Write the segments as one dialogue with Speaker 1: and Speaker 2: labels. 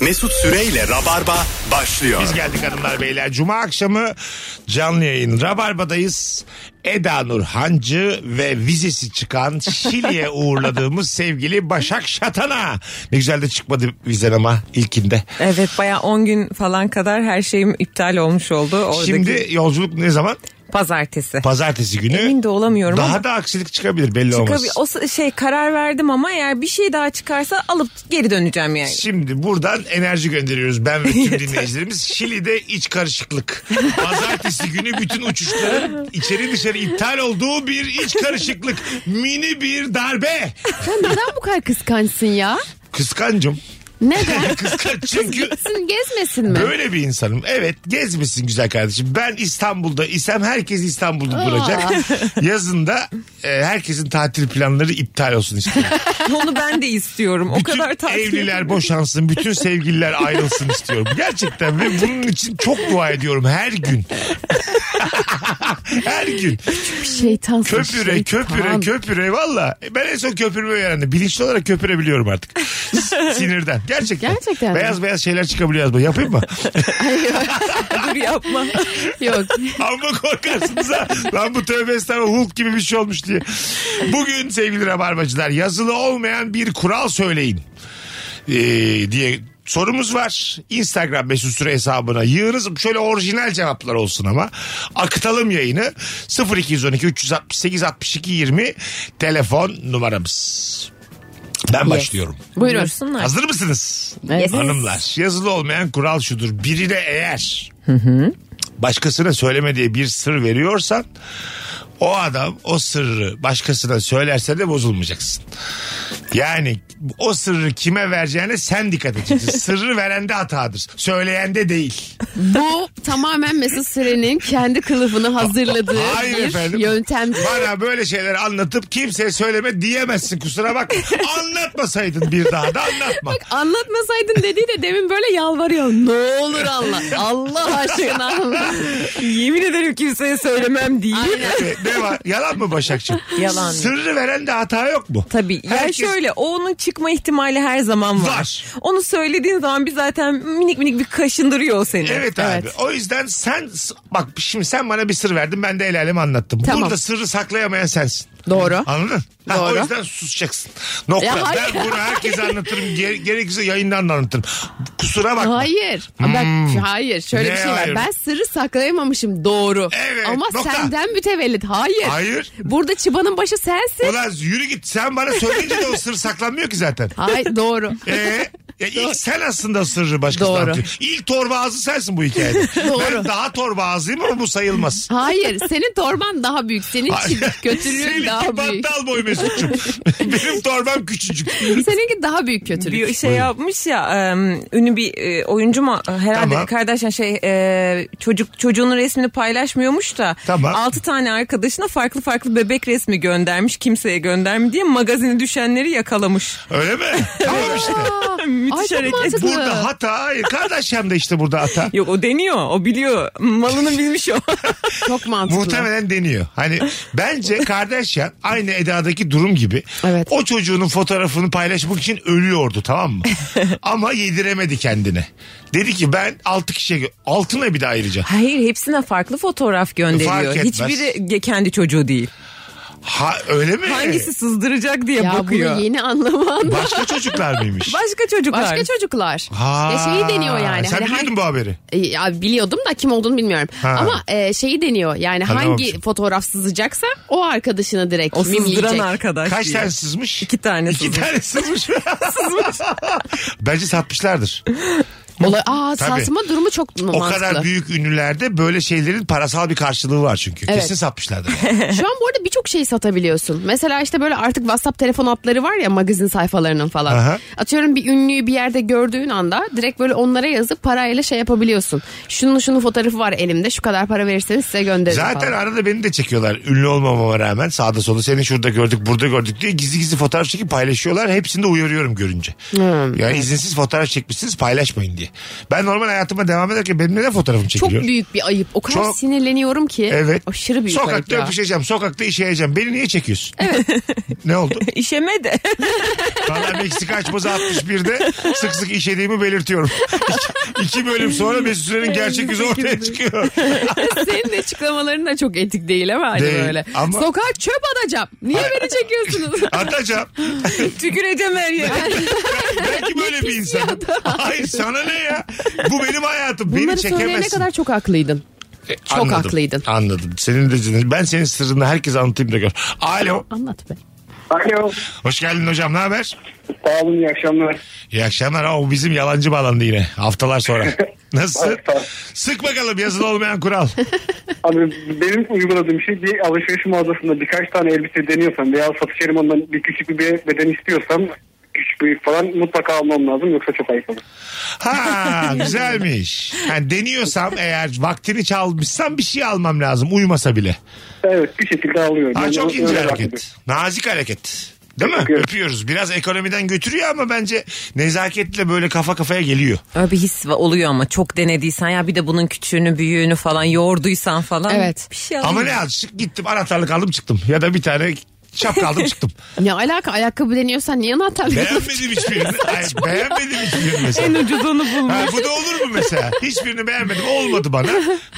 Speaker 1: Mesut Süreyle Rabarba başlıyor.
Speaker 2: Biz geldik hanımlar beyler. Cuma akşamı canlı yayın Rabarba'dayız. Eda Nur Hancı ve vizesi çıkan Şili'ye uğurladığımız sevgili Başak Şatan'a. Ne güzel de çıkmadı vizen ama ilkinde.
Speaker 3: Evet baya 10 gün falan kadar her şeyim iptal olmuş oldu. Oradaki
Speaker 2: Şimdi yolculuk ne zaman?
Speaker 3: pazartesi.
Speaker 2: Pazartesi günü.
Speaker 3: Emin de olamıyorum
Speaker 2: Daha
Speaker 3: ama.
Speaker 2: da aksilik çıkabilir belli olmaz.
Speaker 3: Tabii o s- şey karar verdim ama eğer bir şey daha çıkarsa alıp geri döneceğim yani.
Speaker 2: Şimdi buradan enerji gönderiyoruz ben ve tüm dinleyicilerimiz. Şili'de iç karışıklık. Pazartesi günü bütün uçuşların içeri dışarı iptal olduğu bir iç karışıklık. Mini bir darbe.
Speaker 4: Sen neden bu kadar kıskançsın ya?
Speaker 2: Kıskancım.
Speaker 4: Neden?
Speaker 2: Kıskanç çünkü
Speaker 4: Gitsin gezmesin mi?
Speaker 2: böyle bir insanım. Evet gezmişsin güzel kardeşim. Ben İstanbul'da isem herkes İstanbul'da duracak. Yazında e, herkesin tatil planları iptal olsun istiyorum.
Speaker 3: Onu ben de istiyorum. o
Speaker 2: Bütün
Speaker 3: kadar tatlı.
Speaker 2: evliler boşansın, bütün sevgililer ayrılsın istiyorum. Gerçekten ve bunun için çok dua ediyorum her gün. her gün.
Speaker 4: Şeytan
Speaker 2: Köpüre, köpüre, köpüre valla. Ben en son köpürme öğrendim. Bilinçli olarak köpürebiliyorum artık. S- Sinirden. Gerçekten.
Speaker 4: Gerçekten mi?
Speaker 2: Beyaz beyaz şeyler çıkabiliyor yazma. Yapayım mı?
Speaker 3: Dur yapma.
Speaker 4: Yok.
Speaker 2: Ama korkarsınız ha. Lan bu tövbe estağfurullah Hulk gibi bir şey olmuş diye. Bugün sevgili rabarbacılar yazılı olmayan bir kural söyleyin. Ee, diye sorumuz var. Instagram mesut süre hesabına yığınız. Şöyle orijinal cevaplar olsun ama. Akıtalım yayını. 0212 368 62 20 telefon numaramız. Ben başlıyorum.
Speaker 4: Buyurun.
Speaker 3: Buyursunlar.
Speaker 2: Hazır mısınız?
Speaker 4: Evet.
Speaker 2: Hanımlar yazılı olmayan kural şudur. Birine eğer başkasına söyleme diye bir sır veriyorsan o adam o sırrı başkasına söylerse de bozulmayacaksın. Yani o sırrı kime vereceğine sen dikkat edeceksin. sırrı verende hatadır. Söyleyende değil.
Speaker 4: Bu tamamen Mesut Süren'in kendi kılıfını hazırladığı
Speaker 2: Hayır
Speaker 4: bir
Speaker 2: efendim.
Speaker 4: yöntem.
Speaker 2: Bana böyle şeyler anlatıp kimseye söyleme diyemezsin kusura bak. Anlatmasaydın bir daha da anlatma.
Speaker 4: Anlatmasaydın dediği de demin böyle yalvarıyor. Ne olur Allah. Allah aşkına.
Speaker 3: Yemin ederim kimseye söylemem değil.
Speaker 4: Aynen.
Speaker 2: Ee, ne var? Yalan mı Başakçığım?
Speaker 3: Yalan.
Speaker 2: Sırrı veren de hata yok mu?
Speaker 3: Tabii. Ya
Speaker 2: Herkes-
Speaker 3: şöyle o onun çıkma ihtimali her zaman var.
Speaker 2: Var.
Speaker 3: Onu söylediğin zaman bir zaten minik minik bir kaşındırıyor o seni.
Speaker 2: Evet abi. O yüzden sen bak şimdi sen bana bir sır verdin ben de el alem anlattım.
Speaker 4: Tamam.
Speaker 2: Burada sırrı saklayamayan sensin.
Speaker 4: Doğru.
Speaker 2: Anladın? Ha, o
Speaker 4: Doğru.
Speaker 2: yüzden susacaksın. Nokta.
Speaker 4: Ya hayır.
Speaker 2: ben bunu herkese anlatırım. Ge- gerekirse yayından da anlatırım. Kusura bakma.
Speaker 4: Hayır. Bak hayır şöyle
Speaker 2: Hmm. Ne
Speaker 4: bir şey var.
Speaker 2: hayır?
Speaker 4: Ben sırrı saklayamamışım doğru.
Speaker 2: Evet,
Speaker 4: Ama
Speaker 2: nokta.
Speaker 4: senden mütevellit. Hayır.
Speaker 2: Hayır.
Speaker 4: Burada çıbanın başı sensin.
Speaker 2: Ulan yürü git. Sen bana söyleyince de o sır saklanmıyor ki zaten.
Speaker 4: Hayır doğru.
Speaker 2: Ee, ya ilk sen aslında sırrı başkasına
Speaker 4: Doğru.
Speaker 2: anlatıyor. İlk torba ağzı sensin bu hikayede. Ben
Speaker 4: Doğru.
Speaker 2: daha torba ağzıyım ama bu sayılmaz.
Speaker 4: Hayır senin torban daha büyük. Senin çi- kötülüğün
Speaker 2: Seninki
Speaker 4: daha büyük.
Speaker 2: battal boy Mesut'cum. Benim torbam küçücük.
Speaker 4: Seninki daha büyük kötülük.
Speaker 3: bir şey yapmış ya em, ünlü bir e, oyuncu mu herhalde
Speaker 2: Tamam.
Speaker 3: kardeşen şey e, çocuk çocuğunun resmini paylaşmıyormuş da
Speaker 2: Tamam.
Speaker 3: 6 tane arkadaşına farklı farklı bebek resmi göndermiş kimseye gönderme diye magazine düşenleri yakalamış.
Speaker 2: Öyle mi? Tamam işte.
Speaker 4: Aa,
Speaker 3: Müthiş
Speaker 4: çok
Speaker 3: hareket.
Speaker 4: mantıklı.
Speaker 2: E, Burada hata. Hayır kardeşim de işte burada hata.
Speaker 3: Yok o deniyor o biliyor malını bilmiş o.
Speaker 4: Çok mantıklı.
Speaker 2: Muhtemelen deniyor. Hani bence kardeşim aynı Eda'daki durum gibi.
Speaker 4: Evet.
Speaker 2: O çocuğunun fotoğrafını paylaşmak için ölüyordu tamam mı? Ama yediremedi kendine. Dedi ki ben 6 kişiye gö- altına bir de ayrıca.
Speaker 3: Hayır hepsine farklı fotoğraf gönderiyor.
Speaker 2: Fark etmez.
Speaker 3: Hiçbiri ge- kendi çocuğu değil.
Speaker 2: Ha öyle mi?
Speaker 3: Hangisi sızdıracak diye
Speaker 4: Ya
Speaker 3: bakıyor.
Speaker 4: bunu yeni anlaman.
Speaker 2: Başka çocuklar mıymış?
Speaker 3: Başka çocuklar.
Speaker 4: Başka çocuklar.
Speaker 2: Ha.
Speaker 4: Ya şeyi deniyor yani.
Speaker 2: Sen
Speaker 4: Hani
Speaker 2: biliyordun
Speaker 4: hangi-
Speaker 2: bu haberi.
Speaker 4: E, Ya biliyordum da kim olduğunu bilmiyorum.
Speaker 2: Ha.
Speaker 4: Ama e, şeyi deniyor yani
Speaker 2: Ha, ne
Speaker 4: hangi
Speaker 2: olmuş?
Speaker 4: fotoğraf sızacaksa o arkadaşına direkt
Speaker 3: O
Speaker 4: mimleyecek.
Speaker 3: sızdıran arkadaş.
Speaker 2: Kaç
Speaker 3: diye.
Speaker 2: tane sızmış?
Speaker 3: İki tane
Speaker 2: İki
Speaker 3: sızmış.
Speaker 2: tane sızmış. Bence satmışlardır.
Speaker 4: Olay, aa
Speaker 2: Tabii.
Speaker 4: sarsma durumu çok
Speaker 2: O
Speaker 4: mantıklı.
Speaker 2: kadar büyük ünlülerde böyle şeylerin parasal bir karşılığı var çünkü.
Speaker 4: Evet.
Speaker 2: Kesin satmışlardır.
Speaker 4: Şu an bu arada birçok şey satabiliyorsun. Mesela işte böyle artık WhatsApp telefon hatları var ya magazin sayfalarının falan.
Speaker 2: Aha.
Speaker 4: Atıyorum bir ünlüyü bir yerde gördüğün anda direkt böyle onlara yazıp parayla şey yapabiliyorsun. Şunun şunun fotoğrafı var elimde şu kadar para verirseniz size gönderirim
Speaker 2: Zaten
Speaker 4: falan.
Speaker 2: arada beni de çekiyorlar. Ünlü olmamama rağmen sağda solda seni şurada gördük burada gördük diye gizli
Speaker 4: Hmm.
Speaker 2: gizli fotoğraf çekip paylaşıyorlar. Hepsini de uyarıyorum görünce. Yani izinsiz fotoğraf çekmişsiniz paylaşmayın ilgi. Ben normal hayatıma devam ederken benimle ne fotoğrafım
Speaker 4: Çok
Speaker 2: çekiliyor?
Speaker 4: büyük bir ayıp. O kadar
Speaker 2: Çok-
Speaker 4: sinirleniyorum ki.
Speaker 2: Evet.
Speaker 4: Aşırı büyük ayıp
Speaker 2: Sokakta
Speaker 4: ya.
Speaker 2: öpüşeceğim, sokakta işeyeceğim. Beni niye çekiyorsun? Evet. ne oldu?
Speaker 3: İşeme de.
Speaker 2: Valla Meksika açması 61'de sık sık işediğimi belirtiyorum. iki, iki bölüm sonra Mesut Süren'in gerçek yüzü ortaya çıkıyor.
Speaker 4: Senin de açıklamaların da çok etik değil ama hani
Speaker 2: Değil,
Speaker 4: böyle.
Speaker 2: ama-
Speaker 4: Sokağa çöp atacağım. Niye beni çekiyorsunuz?
Speaker 2: Atacağım.
Speaker 3: Tüküreceğim her yere.
Speaker 2: Belki böyle bir insanım. Hayır sana ne ya? Bu benim hayatım. Beni
Speaker 4: Bunları söyleyene
Speaker 2: çekemezsin.
Speaker 4: kadar çok haklıydın.
Speaker 2: E,
Speaker 4: çok
Speaker 2: anladım,
Speaker 4: haklıydın.
Speaker 2: Anladım. Senin de ben senin sırrını herkese anlatayım da gör. Alo.
Speaker 4: Anlat be.
Speaker 5: Alo.
Speaker 2: Hoş geldin hocam. Ne haber?
Speaker 5: Sağ olun iyi akşamlar.
Speaker 2: İyi akşamlar. Aa, O bizim yalancı bağlandı yine. Haftalar sonra. Nasılsın?
Speaker 5: Bak, bak.
Speaker 2: Sık bakalım yazılı olmayan kural.
Speaker 5: Abi benim uyguladığım şey bir alışveriş mağazasında birkaç tane elbise deniyorsam veya satış yerinden bir küçük bir beden istiyorsam küçük büyük falan mutlaka almam lazım yoksa çok ayıp olur.
Speaker 2: Ha güzelmiş. Yani deniyorsam eğer vaktini çalmışsam bir şey almam lazım. Uyumasa bile.
Speaker 5: Evet bir şekilde alıyorum.
Speaker 2: Ha,
Speaker 5: Yani
Speaker 2: çok
Speaker 5: öyle
Speaker 2: ince
Speaker 5: takip ediyorum.
Speaker 2: hareket. Nazik hareket. Değil mi?
Speaker 5: Öpüyorum.
Speaker 2: Öpüyoruz. Biraz ekonomiden götürüyor ama bence nezaketle böyle kafa kafaya geliyor.
Speaker 3: Öyle bir his oluyor ama çok denediysen ya bir de bunun küçüğünü büyüğünü falan yoğurduysan falan.
Speaker 4: Evet.
Speaker 3: Bir şey
Speaker 2: Ama
Speaker 3: alayım.
Speaker 2: ne alışık gittim anahtarlık aldım çıktım. Ya da bir tane şapka aldım çıktım.
Speaker 4: Ne alaka ayakkabı deniyorsan niye anahtarlık
Speaker 2: beğenmedim hiçbirini. Ay, beğenmedim hiçbirini mesela.
Speaker 4: ucuz onu bulmuş.
Speaker 2: Ha, bu da olur mu mesela? Hiçbirini beğenmedim. Olmadı bana.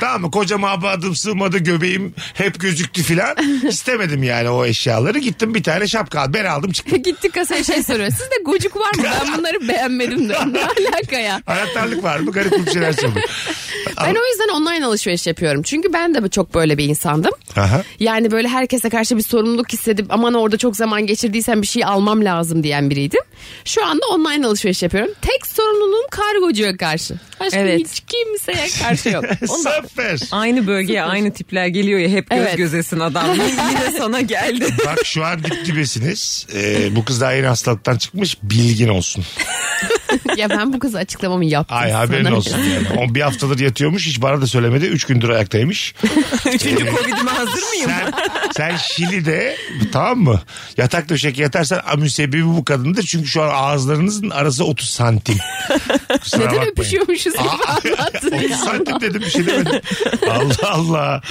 Speaker 2: Tamam mı? Kocama abadım sığmadı göbeğim hep gözüktü filan. İstemedim yani o eşyaları. Gittim bir tane şapka aldım. Ben aldım çıktım.
Speaker 4: Gitti kasaya şey soruyor. Sizde gocuk var mı? Ben bunları beğenmedim de. Ne alaka ya?
Speaker 2: Anahtarlık var mı? Garip bir şeyler söylüyor.
Speaker 4: Ben o yüzden online alışveriş yapıyorum. Çünkü ben de çok böyle bir insandım.
Speaker 2: Aha.
Speaker 4: Yani böyle herkese karşı bir sorumluluk hissedip aman orada çok zaman geçirdiysem bir şey almam lazım diyen biriydim. Şu anda online alışveriş yapıyorum. Tek sorumluluğum kargocuya karşı. Başka
Speaker 3: Evet.
Speaker 4: hiç kimseye karşı yok.
Speaker 2: Sıfır.
Speaker 3: Aynı bölgeye aynı tipler geliyor ya hep göz
Speaker 4: Evet.
Speaker 3: gözesin adam. Yine sana geldi.
Speaker 2: Bak şu an dip dibesiniz. Ee, bu kız daha yeni hastalıktan çıkmış. Bilgin olsun.
Speaker 4: ya ben bu kızı açıklamamı yaptım.
Speaker 2: Ay
Speaker 4: sana.
Speaker 2: haberin olsun yani. On bir haftadır yatıyormuş. Hiç bana da söylemedi. Üç gündür ayaktaymış. Ee,
Speaker 3: Üçüncü Covid'ime hazır mıyım?
Speaker 2: Sen, sen Şili'de tamam mı? Yatak döşek yatarsan amüsebi bu kadındır. Çünkü şu an ağızlarınızın arası 30 santim. Kusura
Speaker 4: Neden
Speaker 2: bakmayın.
Speaker 4: öpüşüyormuşuz? gibi
Speaker 2: Aa,
Speaker 4: anlattın
Speaker 2: 30
Speaker 4: ya.
Speaker 2: santim dedim bir şey demedim. Allah Allah.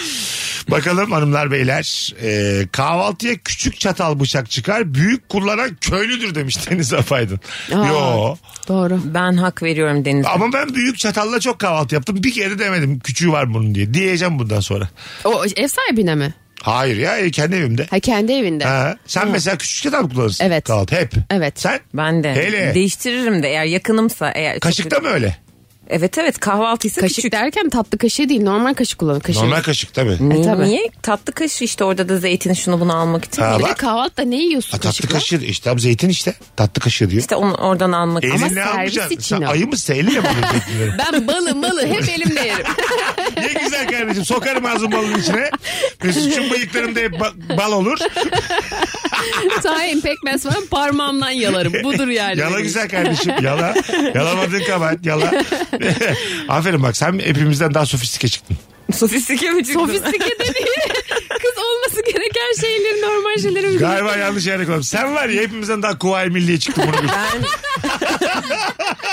Speaker 2: Bakalım hanımlar beyler. Ee, kahvaltıya küçük çatal bıçak çıkar. Büyük kullanan köylüdür demiş Deniz Afaydın.
Speaker 4: Aa.
Speaker 2: Yo.
Speaker 4: Doğru.
Speaker 3: Ben hak veriyorum Deniz.
Speaker 2: Ama ben büyük çatalla çok kahvaltı yaptım. Bir kere demedim küçüğü var bunun diye. Diyeceğim bundan sonra.
Speaker 4: O ev sahibine mi?
Speaker 2: Hayır ya kendi evimde.
Speaker 4: Ha kendi evinde.
Speaker 2: Ha, sen mesela küçük çatal mı kullanırsın?
Speaker 4: Evet.
Speaker 2: Kahvaltı hep.
Speaker 4: Evet.
Speaker 2: Sen?
Speaker 3: Ben de
Speaker 2: Hele.
Speaker 3: değiştiririm de eğer yakınımsa eğer
Speaker 2: Kaşıkta mı öyle?
Speaker 3: Evet evet kahvaltıysa
Speaker 4: Kaşık
Speaker 3: küçük.
Speaker 4: derken tatlı kaşığı değil normal kaşık kullanın. Kaşık.
Speaker 2: Normal kaşık tabii.
Speaker 3: Niye-
Speaker 4: E, tabii.
Speaker 3: Niye? Tatlı kaşığı işte orada da zeytini şunu bunu almak için.
Speaker 2: Ha,
Speaker 4: Bir de
Speaker 2: bak.
Speaker 4: kahvaltıda ne yiyorsun
Speaker 2: Ha, tatlı
Speaker 4: kaşıkla?
Speaker 2: kaşığı işte tam zeytin işte. Tatlı kaşığı diyor.
Speaker 3: İşte onu oradan almak.
Speaker 2: Elinle
Speaker 4: ama servis
Speaker 2: almayacaksın.
Speaker 4: için
Speaker 2: Sen
Speaker 4: al.
Speaker 2: ayı mısın? Elinle mi alıyorsun zeytinleri?
Speaker 4: Ben balı malı hep elimle yerim.
Speaker 2: Ne güzel kardeşim. Sokarım ağzım balın içine. Mesut'cum bıyıklarımda hep ba- bal olur.
Speaker 4: Tahin pekmez falan parmağımdan yalarım. Budur yani.
Speaker 2: Yala
Speaker 4: benim
Speaker 2: güzel kardeşim. Yala. Yalamadığın kabahat. Yala. Aferin bak sen hepimizden daha sofistike çıktın.
Speaker 3: Sofistike mi çıktı?
Speaker 4: Sofistike de değil. Kız olması gereken şeyleri normal şeyleri uyguluyor.
Speaker 2: Galiba yanlış yere koydum. Sen var ya hepimizden daha kuvayi milliye çıktın bunu bil.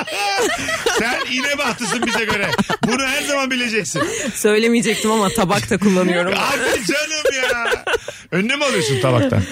Speaker 2: Sen inebahtısın bize göre. Bunu her zaman bileceksin.
Speaker 3: Söylemeyecektim ama tabakta kullanıyorum.
Speaker 2: Abi canım ya. Önüne mi alıyorsun tabaktan?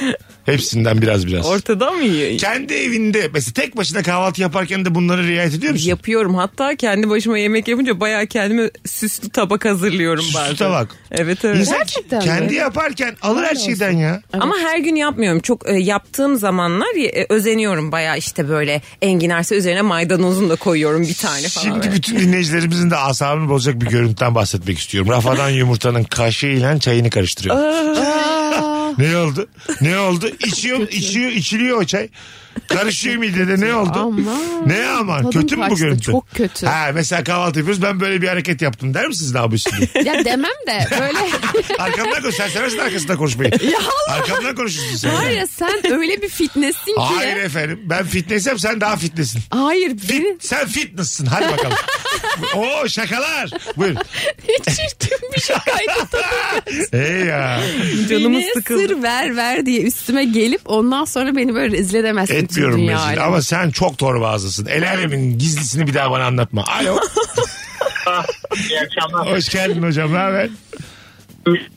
Speaker 2: Hepsinden biraz biraz.
Speaker 3: Ortada mı yiyor?
Speaker 2: Kendi evinde mesela tek başına kahvaltı yaparken de bunları riayet ediyor musun?
Speaker 3: Yapıyorum hatta kendi başıma yemek yapınca bayağı kendime süslü tabak hazırlıyorum
Speaker 2: Süslü
Speaker 3: bazen.
Speaker 2: tabak.
Speaker 3: Evet evet.
Speaker 2: İnsan
Speaker 4: Gerçekten
Speaker 2: kendi
Speaker 4: mi?
Speaker 2: yaparken alır her şeyden ya.
Speaker 3: Ama her gün yapmıyorum. Çok e, yaptığım zamanlar e, özeniyorum bayağı işte böyle enginarsa üzerine maydanozunu da koyuyorum bir tane falan.
Speaker 2: Şimdi
Speaker 3: böyle.
Speaker 2: bütün dinleyicilerimizin de asabını bozacak bir görüntüden bahsetmek istiyorum. Rafadan yumurtanın kaşığıyla çayını karıştırıyor. ne oldu? Ne oldu? İçiyor, içiyor, içiliyor o çay. Karışıyor midede ne oldu?
Speaker 4: Aman.
Speaker 2: Ne aman?
Speaker 4: Tadım
Speaker 2: Kötü mü bu
Speaker 4: kaçtı,
Speaker 2: görüntü?
Speaker 4: çok kötü.
Speaker 2: Ha, mesela kahvaltı yapıyoruz ben böyle bir hareket yaptım der misiniz ne yapıyorsun diye?
Speaker 4: Ya demem de böyle
Speaker 2: Arkamdan konuş. Sen seversin arkasında konuşmayı. Arkamdan konuşursun sen.
Speaker 4: var ya sen öyle bir fitnessin ki.
Speaker 2: Hayır efendim. Ben fitnessem sen daha fitnessin.
Speaker 4: Hayır beni
Speaker 2: Fit, sen fitness'sın. Hadi bakalım. Oo şakalar. Buyur.
Speaker 4: hiç çirkin bir şey
Speaker 2: Ey ya.
Speaker 3: Canımız
Speaker 4: Beni
Speaker 3: sıkıldı.
Speaker 4: sır ver ver diye üstüme gelip ondan sonra beni böyle rezil edemezsin. tüm
Speaker 2: Etmiyorum
Speaker 4: dünya
Speaker 2: rezil.
Speaker 4: alemi.
Speaker 2: Ama sen çok torba ağzısın. El alemin gizlisini bir daha bana anlatma. Alo.
Speaker 6: İyi akşamlar.
Speaker 2: Hoş geldin hocam. Ne haber?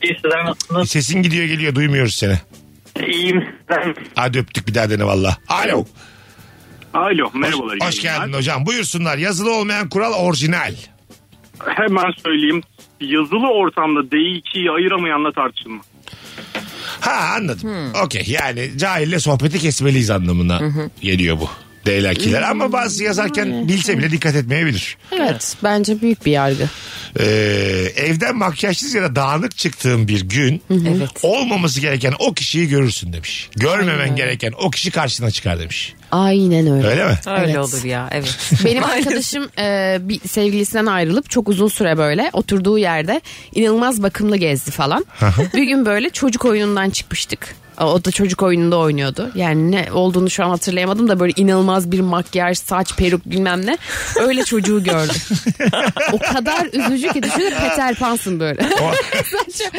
Speaker 6: Sizler nasılsınız?
Speaker 2: Sesin gidiyor geliyor. Duymuyoruz seni.
Speaker 6: İyiyim. sizler.
Speaker 2: Hadi öptük bir daha dene valla. Alo.
Speaker 7: Alo merhabalar.
Speaker 2: Hoş
Speaker 7: iyi
Speaker 2: geldin
Speaker 7: günler.
Speaker 2: hocam. Buyursunlar. Yazılı olmayan kural orijinal.
Speaker 7: Hemen söyleyeyim. Yazılı ortamda D2'yi ayıramayanla tartışılma.
Speaker 2: Ha anladım.
Speaker 4: Hmm.
Speaker 2: Okey yani cahille sohbeti kesmeliyiz anlamına geliyor bu. Deylakiler
Speaker 4: Hmm.
Speaker 2: ama bazı yazarken bilse bile dikkat etmeyebilir.
Speaker 4: Evet bence büyük bir yargı.
Speaker 2: Ee, evden makyajsız ya da dağınık çıktığın bir gün olmaması gereken o kişiyi görürsün demiş. Görmemen gereken o kişi karşına çıkar demiş.
Speaker 4: Aynen öyle.
Speaker 2: Öyle mi?
Speaker 3: Öyle
Speaker 4: Evet.
Speaker 3: olur ya evet.
Speaker 4: Benim arkadaşım e, bir sevgilisinden ayrılıp çok uzun süre böyle oturduğu yerde inanılmaz bakımlı gezdi falan. bir gün böyle çocuk oyunundan çıkmıştık. O da çocuk oyununda oynuyordu. Yani ne olduğunu şu an hatırlayamadım da böyle inanılmaz bir makyaj, saç, peruk bilmem ne. Öyle çocuğu gördüm. o kadar üzücü ki düşünün Peter Pan'sın böyle.
Speaker 2: O,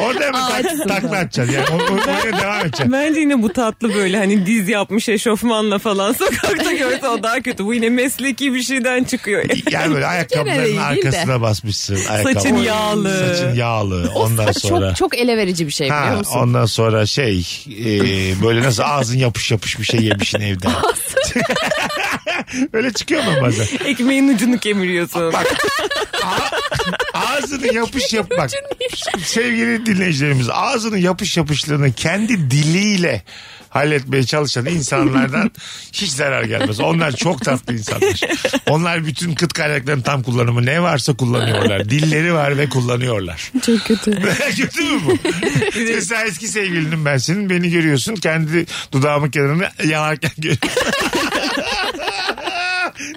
Speaker 2: orada hemen tak,
Speaker 4: Ağaçsın
Speaker 2: takla atacaksın. Yani, o, o- oraya devam edeceksin.
Speaker 3: Bence yine bu tatlı böyle hani diz yapmış eşofmanla falan sokakta görse o daha kötü. Bu yine mesleki bir şeyden çıkıyor.
Speaker 2: Yani böyle ayakkabıların
Speaker 4: değil de.
Speaker 2: arkasına basmışsın. Ayakkabı.
Speaker 3: Saçın yağlı.
Speaker 2: Saçın yağlı. Ondan sonra.
Speaker 4: Çok çok ele verici bir şey biliyor
Speaker 2: Ha,
Speaker 4: musun?
Speaker 2: ondan sonra şey e, böyle nasıl ağzın yapış yapış bir şey yemişsin evden. Öyle çıkıyor mu bazen?
Speaker 3: Ekmeğin ucunu kemiriyorsun.
Speaker 2: Ağzını yapış yap bak.
Speaker 4: şey.
Speaker 2: Sevgili dinleyicilerimiz ağzının yapış yapışlığını kendi diliyle halletmeye çalışan insanlardan hiç zarar gelmez. Onlar çok tatlı insanlar. Onlar bütün kıt kaynakların tam kullanımı ne varsa kullanıyorlar. Dilleri var ve kullanıyorlar.
Speaker 4: Çok kötü.
Speaker 2: Kötü mü bu? Mesela eski sevgilinim ben senin. Beni görüyorsun. Kendi dudağımın kenarını yanarken görüyorsun.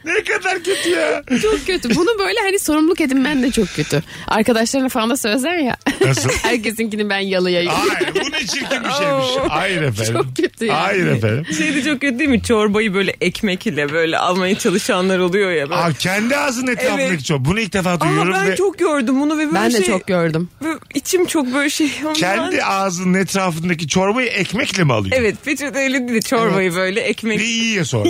Speaker 2: ne kadar kötü ya.
Speaker 4: Çok kötü. Bunu böyle hani sorumluluk edinmen de çok kötü. Arkadaşlarına falan da söyler ya.
Speaker 2: Nasıl?
Speaker 4: Herkesinkini ben yalayayım.
Speaker 2: Hayır bu ne çirkin bir şeymiş. Hayır efendim.
Speaker 4: Çok kötü yani.
Speaker 2: Hayır efendim.
Speaker 3: Şey de çok kötü değil mi? Çorbayı böyle ekmek ile böyle almaya çalışanlar oluyor ya. Böyle.
Speaker 2: Abi kendi ağzının etrafındaki
Speaker 3: Evet.
Speaker 2: çok. Bunu ilk defa
Speaker 3: Aa,
Speaker 2: duyuyorum.
Speaker 3: ben
Speaker 2: ve
Speaker 3: çok gördüm bunu ve böyle
Speaker 4: Ben
Speaker 3: şey,
Speaker 4: de çok gördüm.
Speaker 3: böyle içim çok böyle şey.
Speaker 2: Kendi ağzının etrafındaki çorbayı ekmekle mi alıyor?
Speaker 3: Evet peçete öyle değil de çorbayı böyle
Speaker 2: Ve
Speaker 3: ekmek.
Speaker 2: yiyor sonra.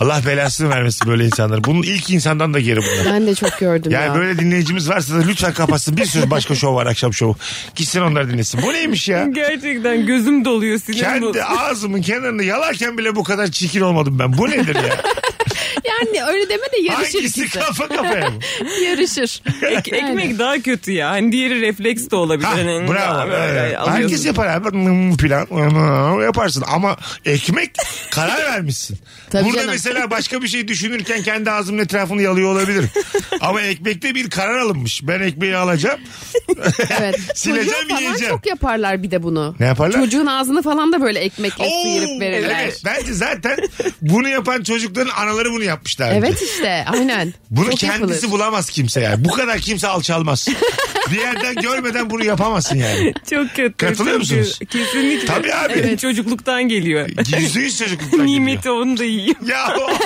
Speaker 2: Allah belasını vermesin böyle insanlar. Bunun ilk insandan da geri bunlar.
Speaker 4: Ben de çok gördüm
Speaker 2: Yani
Speaker 4: ya.
Speaker 2: böyle dinleyicimiz varsa da lütfen kapatsın. Bir sürü başka şov var akşam şovu. Gitsin onları dinlesin. Bu neymiş ya?
Speaker 3: Gerçekten gözüm doluyor sinirim bu.
Speaker 2: Kendi ağzımın kenarını yalarken bile bu kadar çirkin olmadım ben. Bu nedir ya?
Speaker 4: Yani öyle deme de yarışır
Speaker 2: Hangisi
Speaker 4: ikisi.
Speaker 2: kafa kafaya mı?
Speaker 4: Yarışır.
Speaker 3: Ek- ekmek daha kötü ya. Hani diğeri refleks de olabilir.
Speaker 2: Ha,
Speaker 3: Hani
Speaker 2: bravo.
Speaker 3: böyle
Speaker 2: evet.
Speaker 3: alıyorsun.
Speaker 2: Herkes yapar abi. Hmm, Plan hmm, yaparsın ama ekmek karar vermişsin.
Speaker 4: Tabii
Speaker 2: Burada
Speaker 4: canım.
Speaker 2: mesela başka bir şey düşünürken kendi ağzımın etrafını yalıyor olabilirim. ama ekmekte bir karar alınmış. Ben ekmeği alacağım.
Speaker 4: Evet.
Speaker 2: Sileceğim,
Speaker 4: Çocuğa falan
Speaker 2: yiyeceğim.
Speaker 4: çok yaparlar bir de bunu.
Speaker 2: Ne yaparlar?
Speaker 4: Çocuğun ağzını falan da böyle ekmekle
Speaker 2: Oo,
Speaker 4: sıyırıp verirler.
Speaker 2: Evet,
Speaker 4: Evet.
Speaker 2: bence zaten bunu yapan çocukların anaları bunu yapmışlar.
Speaker 4: işte aynen.
Speaker 2: Bunu
Speaker 4: Çok
Speaker 2: kendisi
Speaker 4: yapılır.
Speaker 2: bulamaz kimse yani. Bu kadar kimse alçalmaz. Bir yerden görmeden bunu yapamazsın yani.
Speaker 3: Çok kötü.
Speaker 2: Katılıyor
Speaker 3: çok kötü.
Speaker 2: musunuz?
Speaker 3: Kesinlikle.
Speaker 2: Tabii abi.
Speaker 3: Evet, çocukluktan geliyor.
Speaker 2: Yüzde yüz çocukluktan geliyor.
Speaker 3: Nimeti onu da yiyor.
Speaker 2: Ya o- o-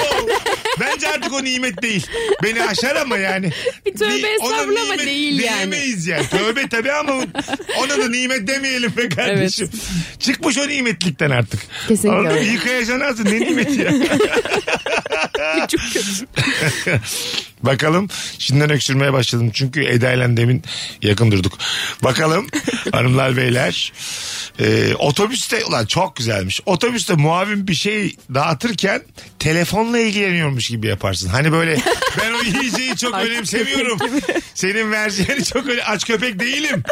Speaker 2: bence artık o nimet değil. Beni aşar ama yani.
Speaker 4: Bir tövbe
Speaker 2: Ni- ona
Speaker 4: estağfurullah ama
Speaker 2: nimet
Speaker 4: değil yani.
Speaker 2: Diyemeyiz yani. Tövbe tabii ama ona da nimet demeyelim be kardeşim. Çıkmış o nimetlikten artık.
Speaker 4: Kesinlikle
Speaker 2: Anladın mı?
Speaker 4: öyle.
Speaker 2: Yıkayacaksın ağzını, ne nimeti ya.
Speaker 3: Çok kötü.
Speaker 2: Bakalım şimdiden öksürmeye başladım. Çünkü Eda ile demin yakın durduk. Bakalım hanımlar beyler. Ee, otobüste ulan çok güzelmiş. Otobüste muavin bir şey dağıtırken telefonla ilgileniyormuş gibi yaparsın. Hani böyle ben o yiyeceği çok önemsemiyorum. Senin vereceğini çok öyle aç köpek değilim.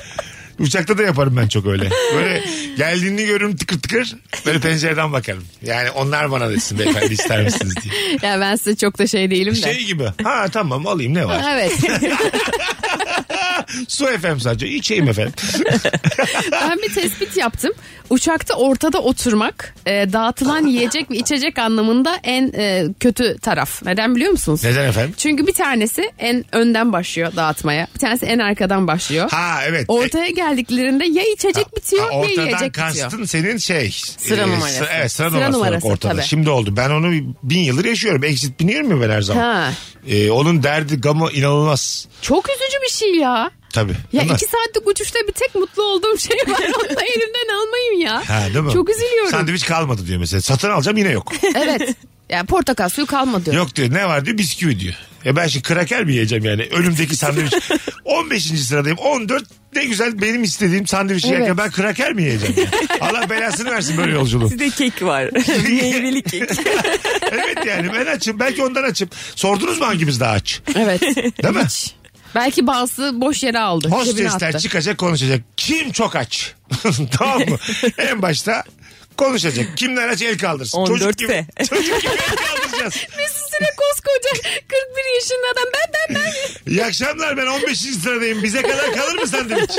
Speaker 2: Uçakta da yaparım ben çok öyle. Böyle geldiğini görürüm tıkır tıkır. Böyle pencereden bakarım. Yani onlar bana desin beyefendi ister misiniz diye.
Speaker 4: Ya ben size çok da şey değilim de.
Speaker 2: Şey gibi. Ha tamam alayım ne var?
Speaker 4: Evet.
Speaker 2: Su efendim sadece. içeyim efendim.
Speaker 4: Ben bir tespit yaptım. Uçakta ortada oturmak e, dağıtılan yiyecek ve içecek anlamında en e, kötü taraf. Neden biliyor musunuz?
Speaker 2: Neden efendim?
Speaker 4: Çünkü bir tanesi en önden başlıyor dağıtmaya. Bir tanesi en arkadan başlıyor.
Speaker 2: Ha evet. E,
Speaker 4: Ortaya geldiklerinde ya içecek bitiyor
Speaker 2: ha,
Speaker 4: ya
Speaker 2: Ortadan
Speaker 4: yiyecek bitiyor.
Speaker 2: kastın senin şey.
Speaker 3: Sıra numarası.
Speaker 2: sıra- evet sıra,
Speaker 4: Sıra
Speaker 2: numarası, yok
Speaker 4: numarası,
Speaker 2: ortada.
Speaker 4: tabii.
Speaker 2: Şimdi oldu. Ben onu bin yıldır yaşıyorum. Exit biniyorum ya ben her zaman.
Speaker 4: Ha.
Speaker 2: E, onun derdi gamı inanılmaz.
Speaker 4: Çok üzücü bir şey ya.
Speaker 2: tabii.
Speaker 4: Ya
Speaker 2: Değil mi?
Speaker 4: iki saatlik uçuşta bir tek mutlu olduğum şey var. Onu da elimden almayayım ya.
Speaker 2: Ha, değil mi?
Speaker 4: Çok üzülüyorum.
Speaker 2: Sandviç kalmadı diyor mesela. Satın alacağım yine yok.
Speaker 4: Evet. Yani portakal suyu kalmadı.
Speaker 2: yok diyor ne var diyor bisküvi diyor. E ben şimdi kraker mi yiyeceğim yani? Önümdeki sandviç. 15. sıradayım. 14 ne güzel benim istediğim sandviçi
Speaker 4: Evet.
Speaker 2: yerken ben kraker mi yiyeceğim? yani? Allah belasını versin böyle yolculuğu.
Speaker 3: Sizde kek var. Meyveli kek.
Speaker 2: evet yani ben açım. Belki ondan açım. Sordunuz mu hangimiz daha aç?
Speaker 4: Evet.
Speaker 2: Değil mi?
Speaker 4: Belki bazısı boş yere aldı. cebine
Speaker 2: Hostesler
Speaker 4: attı.
Speaker 2: çıkacak konuşacak. Kim çok aç? tamam mı? en başta konuşacak. Kimler aç el kaldırsın. Çocuk
Speaker 3: 14
Speaker 2: gibi,
Speaker 3: de.
Speaker 2: çocuk gibi el kaldıracağız.
Speaker 4: Mesut Süre koskoca 41 yaşında adam ben ben ben
Speaker 2: İyi akşamlar ben 15. sıradayım. Bize kadar kalır mı sandviç?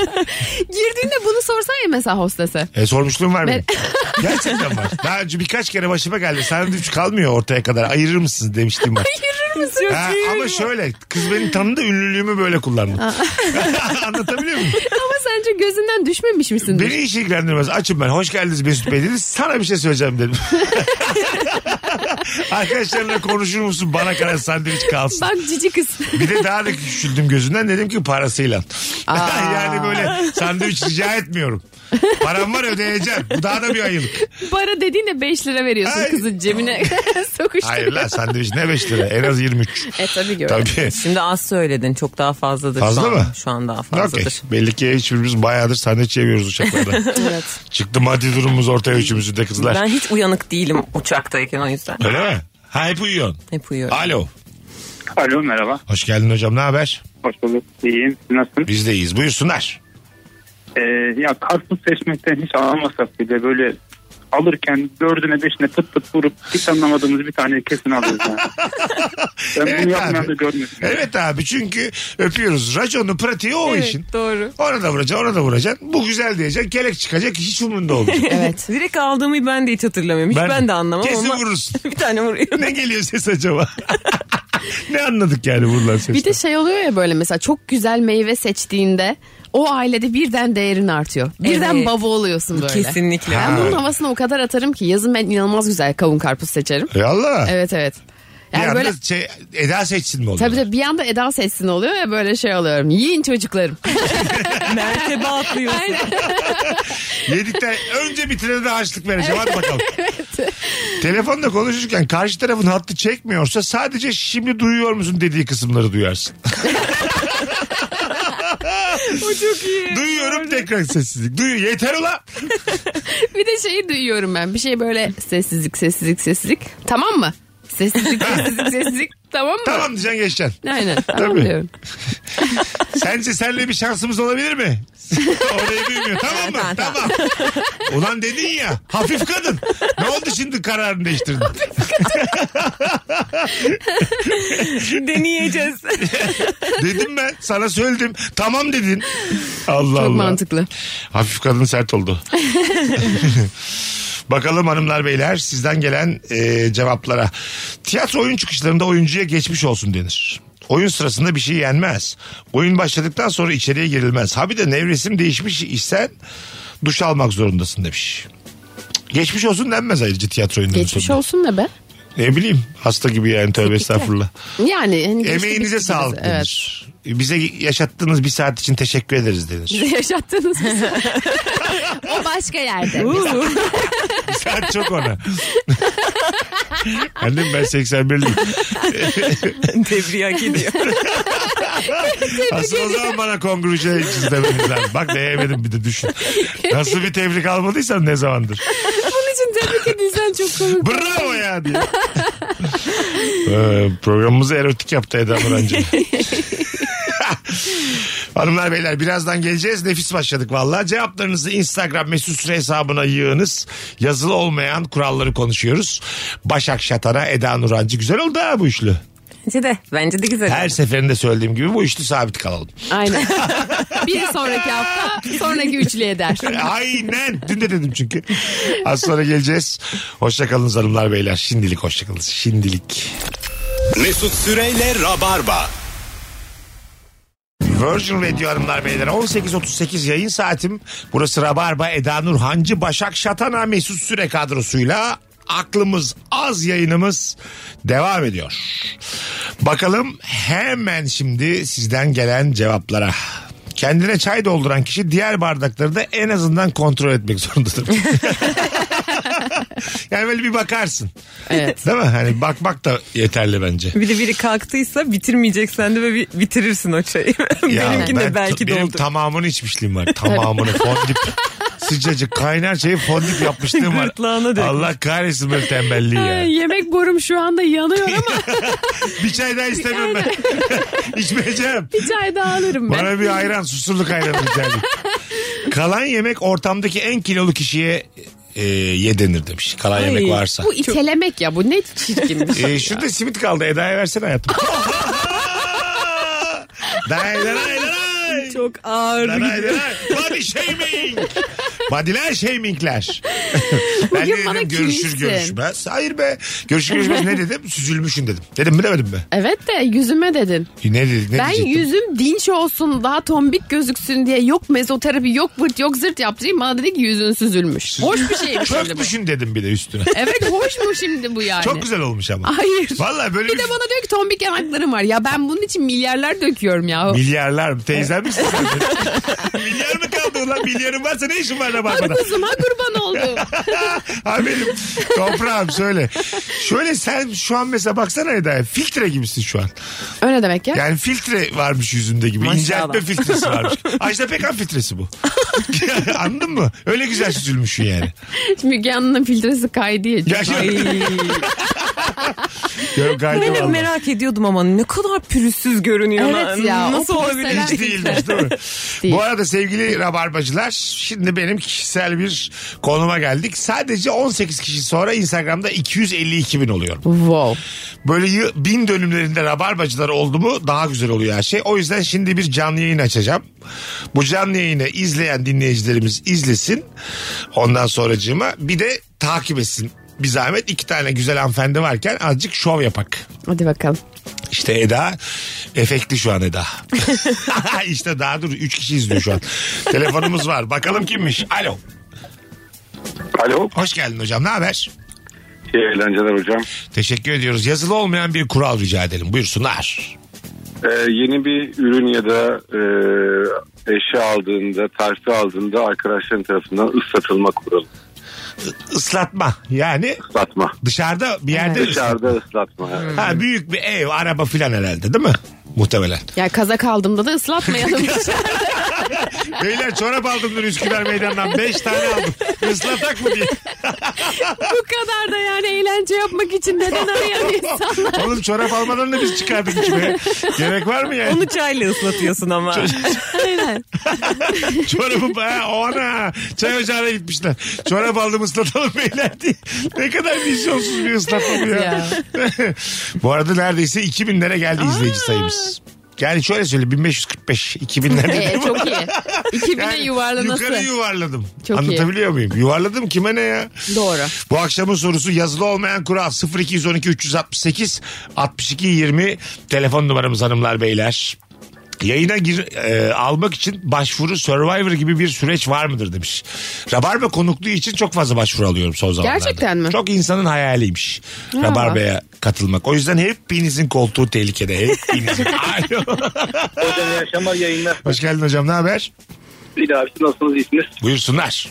Speaker 4: girdiğinde bunu sorsan ya mesela hostese.
Speaker 2: E sormuşluğum var benim.
Speaker 4: Ben-
Speaker 2: Gerçekten var. Daha önce birkaç kere başıma geldi. Sandviç kalmıyor ortaya kadar. Ayırır mısınız demiştim ben.
Speaker 4: Yürür müsün?
Speaker 2: Ha, ama şöyle kız beni tanıdı ünlülüğümü böyle kullandı. Anlatabiliyor muyum?
Speaker 4: Ama sence gözünden düşmemiş misindir?
Speaker 2: Beni hiç ilgilendirmez. Açım ben. Hoş geldiniz Mesut Bey dedi. Sana bir şey söyleyeceğim dedim. Arkadaşlarla konuşur musun? Bana kadar sandviç kalsın.
Speaker 4: Bak cici kız.
Speaker 2: Bir de daha da küçüldüm gözünden. Dedim ki parasıyla. yani böyle sandviç rica etmiyorum. Param var ödeyeceğim. Bu daha da bir ayılık.
Speaker 4: Para dediğine 5 lira veriyorsun
Speaker 2: Ay.
Speaker 4: kızın cebine. Sokuşturuyor.
Speaker 2: Hayır lan sandviç ne 5 lira? En az 23.
Speaker 4: E tabii ki öyle.
Speaker 2: Tabii.
Speaker 3: Şimdi az söyledin çok daha fazladır
Speaker 2: Fazla
Speaker 3: şu an.
Speaker 2: mı?
Speaker 3: Şu an daha
Speaker 2: Okey.
Speaker 3: fazladır.
Speaker 2: Belli ki hiçbirimiz bayağıdır sandviç yemiyoruz uçaklarda.
Speaker 4: Evet.
Speaker 2: Çıktı maddi durumumuz ortaya üçümüzü de kızlar.
Speaker 3: Ben hiç uyanık değilim uçaktayken o yüzden.
Speaker 2: Öyle mi? Ha hep uyuyorsun.
Speaker 3: Hep uyuyorum.
Speaker 2: Alo.
Speaker 5: Alo merhaba.
Speaker 2: Hoş geldin hocam ne haber?
Speaker 5: Hoş bulduk. İyiyim. Siz Nasılsınız?
Speaker 2: Biz deyiz buyursunlar.
Speaker 5: Ee, ya karpuz seçmekten hiç anlamasak bile böyle alırken dördüne beşine pıt pıt vurup hiç anlamadığımız bir tane kesin alıyoruz yani. ben
Speaker 2: Evet
Speaker 5: bunu
Speaker 2: abi.
Speaker 5: yapmayan da görmedim.
Speaker 2: Evet abi çünkü öpüyoruz. Raconun pratiği o
Speaker 4: Evet,
Speaker 2: işin.
Speaker 4: doğru.
Speaker 2: Ona da vuracaksın ona da vuracaksın. Bu güzel diyeceksin. Kelek çıkacak hiç umurunda olmayacak.
Speaker 4: Evet.
Speaker 3: Direkt aldığımı ben de hiç hatırlamıyorum. Hiç
Speaker 2: Ben-
Speaker 3: ben, de anlamam
Speaker 2: Kesin
Speaker 3: ama.
Speaker 2: vurursun.
Speaker 3: bir tane vuruyorum.
Speaker 2: ne geliyor ses acaba? ne anladık yani vurulan sesten?
Speaker 4: Bir de şey oluyor ya böyle mesela çok güzel meyve seçtiğinde o ailede birden değerin artıyor. Birden
Speaker 3: Evet.
Speaker 4: baba oluyorsun böyle.
Speaker 3: Kesinlikle.
Speaker 4: Ben bunun havasına o kadar atarım ki yazın ben inanılmaz güzel kavun karpuz seçerim.
Speaker 2: E Allah.
Speaker 4: Evet evet.
Speaker 2: bir
Speaker 4: Yani
Speaker 2: anda
Speaker 4: böyle
Speaker 2: şey, Eda seçsin mi oluyor?
Speaker 4: tabii tabii bir anda Eda sessin oluyor ya böyle şey oluyorum. Yiyin çocuklarım.
Speaker 3: Mertebe atlıyorsun.
Speaker 2: Yedikten önce bitirene de harçlık vereceğim hadi bakalım. Telefonda konuşurken karşı tarafın hattı çekmiyorsa sadece şimdi duyuyor musun dediği kısımları duyarsın.
Speaker 3: o çok iyi.
Speaker 2: Duyuyorum tekrar sessizlik. Duyuyor yeter ula.
Speaker 4: bir de şeyi duyuyorum ben. Bir şey böyle sessizlik sessizlik sessizlik. Tamam mı? Sessizlik sessizlik sessizlik. Tamam mı?
Speaker 2: Tamam diyeceksin geçeceksin.
Speaker 4: Aynen. Tamam
Speaker 2: Tabii.
Speaker 4: diyorum.
Speaker 2: Sence senle bir şansımız olabilir mi? Orayı duymuyor. Tamam mı? tamam. Ulan dedin ya. Hafif kadın. Ne oldu şimdi kararını değiştirdin?
Speaker 3: Deneyeceğiz.
Speaker 2: Dedim ben. Sana söyledim. Tamam dedin. Allah Allah.
Speaker 4: Çok mantıklı.
Speaker 2: Hafif kadın sert oldu. Bakalım hanımlar beyler sizden gelen e, cevaplara. Tiyatro oyun çıkışlarında oyuncuya geçmiş olsun denir. Oyun sırasında bir şey yenmez. Oyun başladıktan sonra içeriye girilmez. Ha bir de nevresim değişmiş isen duş almak zorundasın demiş. Geçmiş olsun denmez ayrıca tiyatro oyunlarının
Speaker 4: Geçmiş
Speaker 2: sonunda.
Speaker 4: olsun ne be?
Speaker 2: Ne bileyim hasta gibi yani tövbe estağfurullah.
Speaker 4: Yani. hani geçti
Speaker 2: Emeğinize
Speaker 4: bitti
Speaker 2: sağlık
Speaker 4: bize. Evet.
Speaker 2: denir. Bize yaşattığınız bir saat için teşekkür ederiz denir.
Speaker 4: Bize yaşattınız bizi. o başka yerde.
Speaker 2: Sen çok ona. Annem ben 81'liyim.
Speaker 3: Tebriğe hak ediyor.
Speaker 2: Asıl o zaman bana kongruje çizdemeniz lazım. Bak değemedim bir de düşün. Nasıl bir tebrik almadıysam ne zamandır.
Speaker 4: Bunun için tebrik edilsen çok komik.
Speaker 2: Bravo ya diye. Ee, programımızı erotik yaptı Eda Nurancı. Hanımlar beyler birazdan geleceğiz. Nefis başladık valla. Cevaplarınızı Instagram mesut süre hesabına yığınız. Yazılı olmayan kuralları konuşuyoruz. Başak Şatan'a Eda Nurancı. Güzel oldu ha bu üçlü.
Speaker 3: Bence de. Bence de güzel.
Speaker 2: Her seferinde söylediğim gibi bu üçlü sabit kalalım.
Speaker 4: Aynen. Bir sonraki hafta sonraki üçlüye der.
Speaker 2: Aynen. Dün de dedim çünkü. Az sonra geleceğiz. Hoşçakalın hanımlar beyler. Şimdilik hoşçakalın. Şimdilik.
Speaker 1: Mesut Süreyle Rabarba.
Speaker 2: Virgin Radio hanımlar beyler. 18.38 yayın saatim. Burası Rabarba. Eda Nur Hancı, Başak Şatana, Mesut Süre kadrosuyla aklımız az yayınımız devam ediyor. Bakalım hemen şimdi sizden gelen cevaplara. Kendine çay dolduran kişi diğer bardakları da en azından kontrol etmek zorundadır. yani böyle bir bakarsın.
Speaker 4: Evet.
Speaker 2: Değil mi? Hani bakmak da yeterli bence.
Speaker 3: Bir de biri kalktıysa bitirmeyecek sen de ve bi- bitirirsin o çayı.
Speaker 2: Ya
Speaker 3: Benimkini
Speaker 2: ben-
Speaker 3: de belki
Speaker 2: benim
Speaker 3: doldu.
Speaker 2: tamamını içmişliğim var. Tamamını fondip. Sıcacık kaynar şeyi fondip yapmışlığım var.
Speaker 3: Gırtlağına dökmüş.
Speaker 2: Allah kahretsin böyle tembelliği ya.
Speaker 4: Ay, yemek borum şu anda yanıyor ama
Speaker 2: Bir çay daha istemiyorum ben. İçmeyeceğim.
Speaker 4: bir çay daha alırım ben.
Speaker 2: Bana bir ayran susurluk ayranı rica edeyim. Kalan yemek ortamdaki en kilolu kişiye e, ye denir demiş. Kalan yemek varsa.
Speaker 4: Bu itelemek ya bu ne çirkin bir şey.
Speaker 2: E, şurada simit kaldı Eda'ya versene hayatım. Day, day, day, day.
Speaker 3: Çok ağır.
Speaker 2: Day, day, day. Body shaming. Bodyler shamingler. ben
Speaker 4: Bugün
Speaker 2: ne
Speaker 4: bana
Speaker 2: dedim görüşür
Speaker 4: kimsin?
Speaker 2: görüşmez. Hayır be. Görüşür görüşmez ne dedim? Süzülmüşün dedim. Dedim mi demedim mi?
Speaker 4: Evet de yüzüme dedin.
Speaker 2: E, Ne dedik? Ne
Speaker 4: ben
Speaker 2: diyecektim?
Speaker 4: yüzüm dinç olsun daha tombik gözüksün diye yok mezoterapi yok vırt yok zırt yaptırayım. Bana dedi ki yüzün süzülmüş. Hoş bir şeymiş şimdi bu.
Speaker 2: Çökmüşün dedim bir de üstüne.
Speaker 4: Evet hoş mu şimdi bu yani?
Speaker 2: Çok güzel olmuş ama.
Speaker 4: Hayır.
Speaker 2: Vallahi böyle
Speaker 4: Bir de bana diyor ki tombik yanaklarım var. Ya ben bunun için milyarlar döküyorum ya.
Speaker 2: Milyarlar mı? Teyzem misin sen? Milyar mı kaldı ulan? Milyarın varsa ne işin var rabarbada?
Speaker 4: Kızıma kurban oldu.
Speaker 2: Abi benim toprağım söyle. Şöyle sen şu an mesela baksana Eda'ya filtre gibisin şu an.
Speaker 4: Öyle demek ya.
Speaker 2: Yani filtre varmış yüzünde gibi.
Speaker 3: Maşallah.
Speaker 2: İnceltme filtresi varmış. Ajda Pekan filtresi bu. Yani Anladın mı? Öyle güzel süzülmüşsün yani.
Speaker 4: Müge Anlı'nın filtresi kaydı ya.
Speaker 2: Ya, Yok
Speaker 3: şey. Ben
Speaker 2: gayet
Speaker 3: hep
Speaker 2: vallahi.
Speaker 3: merak ediyordum ama ne kadar pürüzsüz görünüyor.
Speaker 4: Evet
Speaker 3: lan.
Speaker 4: ya, o
Speaker 3: Nasıl olabilir?
Speaker 4: pürüzseler-
Speaker 2: Hiç değilmiş değil mi?
Speaker 4: Değil.
Speaker 2: Bu arada sevgili rabarbacılar şimdi benim kişisel bir konuma geldik. Sadece 18 kişi sonra Instagram'da 252 bin oluyorum.
Speaker 4: Wow.
Speaker 2: Böyle yı- bin dönümlerinde rabarbacılar oldu mu daha güzel oluyor her şey. O yüzden şimdi bir canlı yayın açacağım. Bu canlı yayını izleyen dinleyicilerimiz izlesin. Ondan sonracığıma bir de takip etsin. Bir zahmet iki tane güzel hanımefendi varken azıcık şov yapak.
Speaker 4: Hadi bakalım.
Speaker 2: İşte Eda efektli şu an Eda. işte daha dur 3 kişi izliyor şu an. Telefonumuz var. Bakalım kimmiş? Alo.
Speaker 5: Alo.
Speaker 2: Hoş geldin hocam. Ne haber?
Speaker 5: İyi eğlenceler hocam.
Speaker 2: Teşekkür ediyoruz. Yazılı olmayan bir kural rica edelim. Buyursunlar.
Speaker 5: Ee, yeni bir ürün ya da e, eşya aldığında, terfi aldığında arkadaşların tarafından ıslatılma kuralı.
Speaker 2: Islatma. Yani
Speaker 5: Islatma.
Speaker 2: dışarıda bir yerde ıslat-
Speaker 5: Dışarıda ıslatma. evet.
Speaker 2: Ha, büyük bir ev, araba filan herhalde değil mi? Muhtemelen.
Speaker 4: Ya kazak aldığımda da ıslatmayalım.
Speaker 2: Beyler çorap aldım dün Üsküdar Meydanı'ndan. Beş tane aldım. Islatak mı diye.
Speaker 4: Bu kadar da yani eğlence yapmak için neden arayan insanlar?
Speaker 2: Oğlum çorap almadan da biz çıkardık içime. Gerek var mı yani?
Speaker 3: Onu çayla ıslatıyorsun ama.
Speaker 4: Aynen.
Speaker 2: Çorabı baya ona çay ocağına gitmişler. Çorap aldım ıslatalım beyler diye. Ne kadar vizyonsuz bir ıslatma bu ya. bu arada neredeyse 2000'lere geldi izleyici sayımız. Yani şöyle söyle 1545 2000'lerde.
Speaker 4: Ee, çok iyi. 2000'e
Speaker 2: Yani
Speaker 4: yuvarlanası.
Speaker 2: Yukarı yuvarladım.
Speaker 4: Çok iyi.
Speaker 2: Anlatabiliyor muyum? Yuvarladım kime ne ya?
Speaker 4: Doğru.
Speaker 2: Bu akşamın sorusu yazılı olmayan kural 0212 368 62 20 telefon numaramız hanımlar beyler. Yayına gir, e, almak için başvuru Survivor gibi bir süreç var mıdır demiş. Rabarba konukluğu için çok fazla başvuru alıyorum son zamanlarda.
Speaker 4: Gerçekten mi?
Speaker 2: Çok insanın hayaliymiş Rabarba'ya katılmak. O yüzden hepinizin koltuğu tehlikede. Hepinizin. Alo.
Speaker 6: Hocam iyi akşamlar yayınlar.
Speaker 2: Hoş geldin hocam ne haber?
Speaker 6: İyi abi siz nasılsınız iyisiniz?
Speaker 2: Buyursunlar.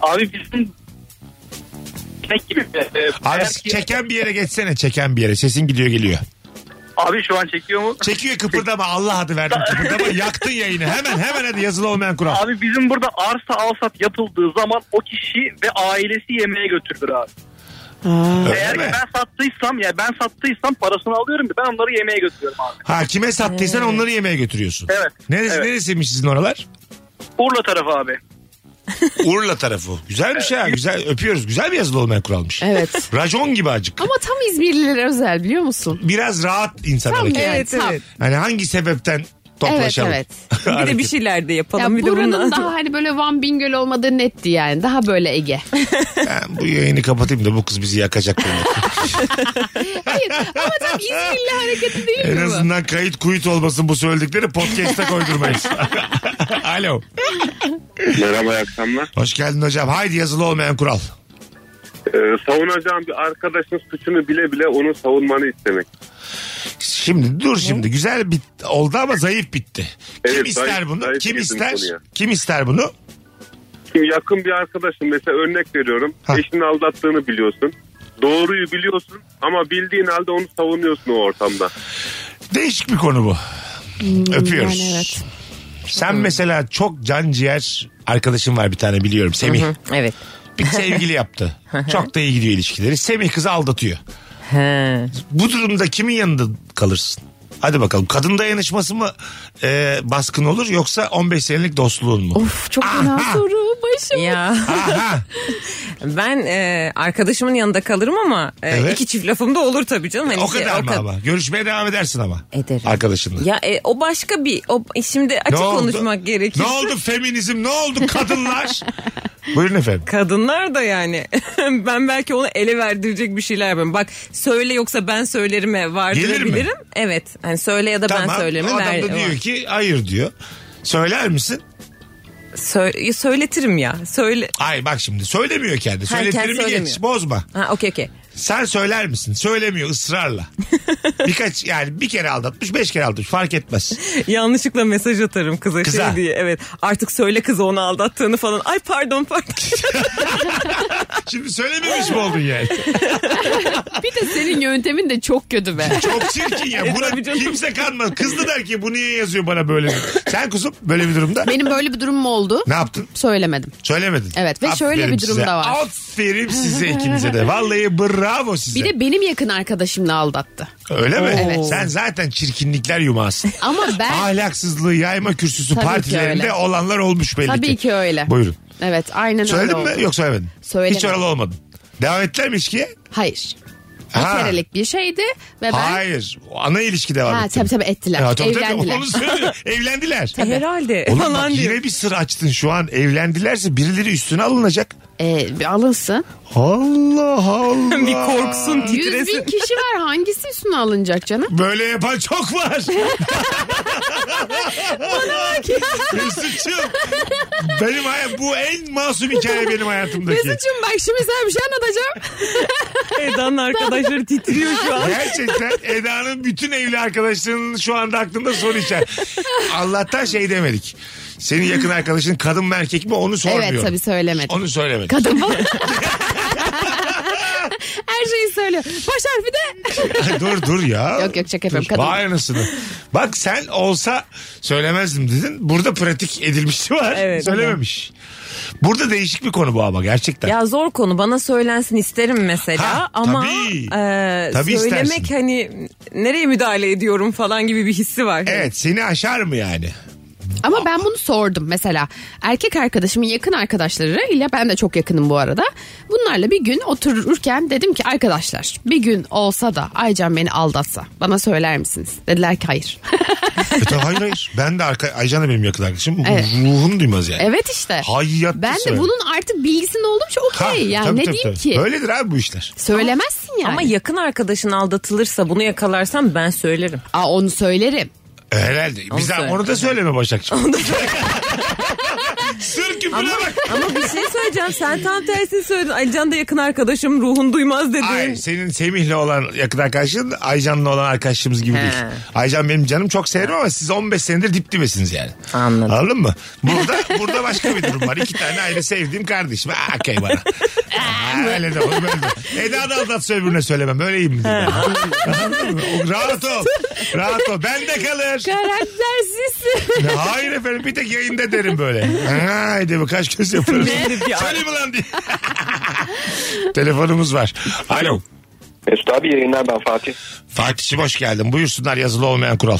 Speaker 6: Abi bizim ne gibi? Ee,
Speaker 2: Abi
Speaker 6: eğer ki-
Speaker 2: çeken bir yere geçsene çeken bir yere. Sesin gidiyor geliyor.
Speaker 6: Abi şu an çekiyor mu?
Speaker 2: Çekiyor kıpırdama Allah adı verdim kıpırdama yaktın yayını hemen hemen hadi yazılı olmayan kural.
Speaker 6: Abi bizim burada arsa alsat yapıldığı zaman o kişi ve ailesi yemeğe götürülür abi.
Speaker 2: Öyle
Speaker 6: Eğer ki
Speaker 2: mi?
Speaker 6: ben sattıysam ya ben sattıysam parasını alıyorum ya ben onları yemeğe götürüyorum abi.
Speaker 2: Ha kime sattıysan onları yemeğe götürüyorsun.
Speaker 6: Evet.
Speaker 2: Neresi
Speaker 6: Evet.
Speaker 2: neresiymiş sizin oralar?
Speaker 6: Urla tarafı abi.
Speaker 2: Urla tarafı. Güzelmiş ha güzel öpüyoruz güzel bir yazılı olmayan kuralmış.
Speaker 4: Evet.
Speaker 2: Racon gibi acık.
Speaker 4: Ama tam İzmirlilere özel biliyor musun?
Speaker 2: Biraz rahat insan
Speaker 4: Tam
Speaker 2: hareket.
Speaker 4: yani, tam.
Speaker 2: Hani hangi sebepten toplaşalım?
Speaker 4: Evet,
Speaker 3: Bir de bir
Speaker 4: şey-
Speaker 2: Hareket.
Speaker 3: şeyler de yapalım.
Speaker 4: Ya
Speaker 3: bir de
Speaker 4: buranın
Speaker 3: bundan.
Speaker 4: daha hani böyle Van Bingöl olmadığı netti yani. Daha böyle Ege.
Speaker 2: Ben bu yayını kapatayım da bu kız bizi yakacak. beni.
Speaker 4: Hayır ama tam İzmirli hareketi değil
Speaker 2: en
Speaker 4: mi bu?
Speaker 2: azından kayıt kuyut olmasın bu söyledikleri podcast'e koydurmayız. Alo.
Speaker 5: Merhaba iyi akşamlar.
Speaker 2: Hoş geldin hocam. Haydi yazılı olmayan kural.
Speaker 5: Ee, savunacağım bir arkadaşın suçunu bile bile onu savunmanı istemek.
Speaker 2: Şimdi dur şimdi güzel bit oldu ama zayıf bitti. Kim
Speaker 8: Evet,
Speaker 2: ister
Speaker 8: zayıf-
Speaker 2: bunu?
Speaker 8: zayıf
Speaker 2: Kim
Speaker 8: girdim
Speaker 2: ister?
Speaker 8: konuya.
Speaker 2: Kim ister bunu?
Speaker 8: Şimdi yakın bir arkadaşın mesela örnek veriyorum.
Speaker 2: Ha.
Speaker 8: Eşini aldattığını biliyorsun. Doğruyu biliyorsun ama bildiğin halde onu savunuyorsun o ortamda.
Speaker 2: Değişik bir konu bu. Öpüyoruz.
Speaker 4: yani evet.
Speaker 2: Sen mesela çok can ciğer arkadaşın var bir tane biliyorum Semih.
Speaker 3: Evet.
Speaker 2: Bir sevgili yaptı. Çok da iyi gidiyor ilişkileri. Semih kızı aldatıyor.
Speaker 3: He.
Speaker 2: Bu durumda kimin yanında kalırsın? Hadi bakalım kadın dayanışması mı e, baskın olur yoksa 15 senelik dostluğun mu?
Speaker 4: Of çok fena soru başım.
Speaker 3: Ya
Speaker 2: Aha.
Speaker 3: ben e, arkadaşımın yanında kalırım ama e,
Speaker 2: Evet.
Speaker 3: iki çift lafım da olur tabii canım. Hani
Speaker 2: o
Speaker 3: şey,
Speaker 2: kadar mı
Speaker 3: kad-
Speaker 2: ama? Görüşmeye devam edersin ama.
Speaker 3: Ederim.
Speaker 2: Arkadaşınla.
Speaker 3: Ya e, o başka bir o e, şimdi
Speaker 2: Ne
Speaker 3: açık
Speaker 2: oldu?
Speaker 3: konuşmak gerekir.
Speaker 2: Ne oldu feminizm? Ne oldu kadınlar? Buyurun efendim.
Speaker 3: Kadınlar da yani ben belki onu ele verdirecek bir şeyler yapayım. Bak söyle yoksa ben söylerime
Speaker 2: Gelir
Speaker 3: vardırabilirim. Evet. Hani söyle ya da ben söylerime
Speaker 2: o adam
Speaker 3: ver-
Speaker 2: da diyor
Speaker 3: var.
Speaker 2: ki hayır diyor. Söyler misin?
Speaker 3: Sö- söyletirim ya. Söyle.
Speaker 2: Ay bak şimdi söylemiyor kendi.
Speaker 3: Ha, kendi
Speaker 2: Söyletir mi geç
Speaker 3: söylemiyor.
Speaker 2: bozma.
Speaker 3: Ha okey okey.
Speaker 2: Sen söyler misin? Söylemiyor ısrarla. Birkaç yani bir kere aldatmış beş kere aldatmış fark etmez.
Speaker 3: Yanlışlıkla mesaj atarım kıza,
Speaker 2: Kıza.
Speaker 3: şey diye. Evet. Artık söyle kızı onu aldattığını falan. Ay pardon pardon.
Speaker 2: Şimdi söylememiş mi oldun yani?
Speaker 4: Bir de senin yöntemin de çok kötü be.
Speaker 2: Çok çirkin
Speaker 4: E,
Speaker 2: ya. Buna
Speaker 3: tabii canım.
Speaker 2: kimse kanmaz. Kız da der ki bu niye yazıyor bana böyle? Sen kuzum böyle bir durumda
Speaker 4: Benim böyle bir durumum oldu.
Speaker 2: ne yaptın?
Speaker 4: Söylemedim.
Speaker 2: Söylemedin.
Speaker 4: Evet ve şöyle
Speaker 2: Aferin
Speaker 4: bir durum
Speaker 2: size.
Speaker 4: da var.
Speaker 2: Aferin size ikinize de. Vallahi bravo size.
Speaker 4: Bir de benim yakın arkadaşımla aldattı.
Speaker 2: Öyle mi?
Speaker 4: Evet.
Speaker 2: Sen zaten çirkinlikler yumağısın.
Speaker 4: Ama ben
Speaker 2: Ahlaksızlığı yayma kürsüsü
Speaker 4: Tabii ki
Speaker 2: partilerinde
Speaker 4: öyle.
Speaker 2: olanlar olmuş belli
Speaker 4: tabii ki öyle.
Speaker 2: Buyurun.
Speaker 4: Evet aynen öyle
Speaker 2: Söyledin mi?
Speaker 4: oldu.
Speaker 2: Yok söylemedin.
Speaker 4: Söylemedim.
Speaker 2: Hiç oralı olmadın. Devam ettiler mi ilişkiye?
Speaker 4: Hayır.
Speaker 2: Ha.
Speaker 4: Bir kerelik bir şeydi ve ben...
Speaker 2: Hayır. Ana ilişki devam
Speaker 4: Ha,
Speaker 2: etti.
Speaker 4: tabii tabii ettiler.
Speaker 2: Ha, tabii, tabii.
Speaker 4: Evlendiler.
Speaker 2: Onu söylüyorum. Evlendiler.
Speaker 3: Herhalde
Speaker 2: Oğlum bak
Speaker 3: falan diyor.
Speaker 2: yine bir sır açtın şu an. Evlendilerse birileri üstüne alınacak.
Speaker 4: Ee, bir alınsın.
Speaker 2: Allah Allah.
Speaker 3: Bir korksun
Speaker 4: Yüz bin
Speaker 3: titresin.
Speaker 4: kişi var hangisi üstüne alınacak canım?
Speaker 2: Böyle yapan çok var. Mesut'cum. Benim hayat bu en masum hikaye benim hayatımdaki.
Speaker 4: bak şimdi sana bir şey anlatacağım.
Speaker 3: Eda'nın arkadaşları titriyor şu an.
Speaker 2: Gerçekten Eda'nın bütün evli arkadaşlarının şu anda aklında soru işareti. Allah'tan şey demedik. Senin yakın arkadaşın kadın mı erkek mi onu sormuyorum.
Speaker 4: evet tabii söylemedim.
Speaker 2: Onu söylemedik.
Speaker 4: Kadın falan. Her şeyi söylüyor. Baş harfi de.
Speaker 2: dur dur ya.
Speaker 4: Yok, yok, şaka yapıyorum.
Speaker 2: Dur,
Speaker 4: Kadın.
Speaker 2: Vay anasını. Bak sen olsa söylemezdim dedin. Burada pratik edilmişti var.
Speaker 3: Evet.
Speaker 2: Söylememiş. Burada değişik bir konu bu ama gerçekten.
Speaker 3: Ya zor konu bana söylensin isterim mesela
Speaker 2: Ha,
Speaker 3: ama
Speaker 2: tabii.
Speaker 3: e,
Speaker 2: Tabii
Speaker 3: söylemek
Speaker 2: istersin.
Speaker 3: hani nereye müdahale ediyorum falan gibi bir hissi var.
Speaker 2: Evet seni aşar mı yani?
Speaker 4: Ama ben bunu sordum mesela. Erkek arkadaşımın yakın arkadaşları ile ben de çok yakınım bu arada. Bunlarla bir gün otururken dedim ki arkadaşlar bir gün olsa da Aycan beni aldatsa bana söyler misiniz? Dediler ki hayır.
Speaker 2: E tabii, hayır hayır. Ben de arka, Aycan da benim yakın arkadaşım.
Speaker 4: Evet.
Speaker 2: Ruhunu duymaz yani.
Speaker 4: evet işte.
Speaker 2: Hayatta
Speaker 4: Ben de
Speaker 2: söyle.
Speaker 4: bunun artık bilgisinin olduğum için
Speaker 2: Ha,
Speaker 4: okey. Yani
Speaker 2: tabii,
Speaker 4: ne
Speaker 2: tabii,
Speaker 4: diyeyim
Speaker 2: tabii.
Speaker 4: ki?
Speaker 2: Böyledir abi bu işler.
Speaker 4: Söylemezsin yani.
Speaker 3: Ama yakın arkadaşın aldatılırsa bunu yakalarsam ben söylerim.
Speaker 4: Aa, onu söylerim.
Speaker 2: E, Herhalde. Biz de,
Speaker 3: söyle.
Speaker 2: onu da söyleme Başakçığım. Sır küpüne bak.
Speaker 3: Ama bir şey söyleyeceğim sen tam tersini söyledin. Alican da yakın arkadaşım ruhun duymaz dedin.
Speaker 2: Ay, senin Semih'le olan yakın arkadaşın Aycan'la olan arkadaşımız gibi
Speaker 3: He.
Speaker 2: değil. Aycan benim canım çok severim ama siz 15 senedir dip dibesiniz yani.
Speaker 3: Anladım.
Speaker 2: Anladın mı? Burada burada başka bir durum var. İki tane ayrı sevdiğim kardeşim. Ha, okey bana. Ha, öyle de olur böyle de. Eda da aldatsa öbürüne söylemem. Öyleyim mi? Anladın mı? O- Rahat ol. Rahat ol. Ben de kalır.
Speaker 4: Karaktersizsin.
Speaker 2: Ya Hayır efendim bir tek yayında derim böyle. Ha, Haydi bu kaç göz yaparız. Söyle mi lan diye. Telefonumuz var. Alo.
Speaker 8: Mesut abi yayınlar ben Fatih.
Speaker 2: Fatih'cim hoş geldin. Buyursunlar yazılı olmayan kural.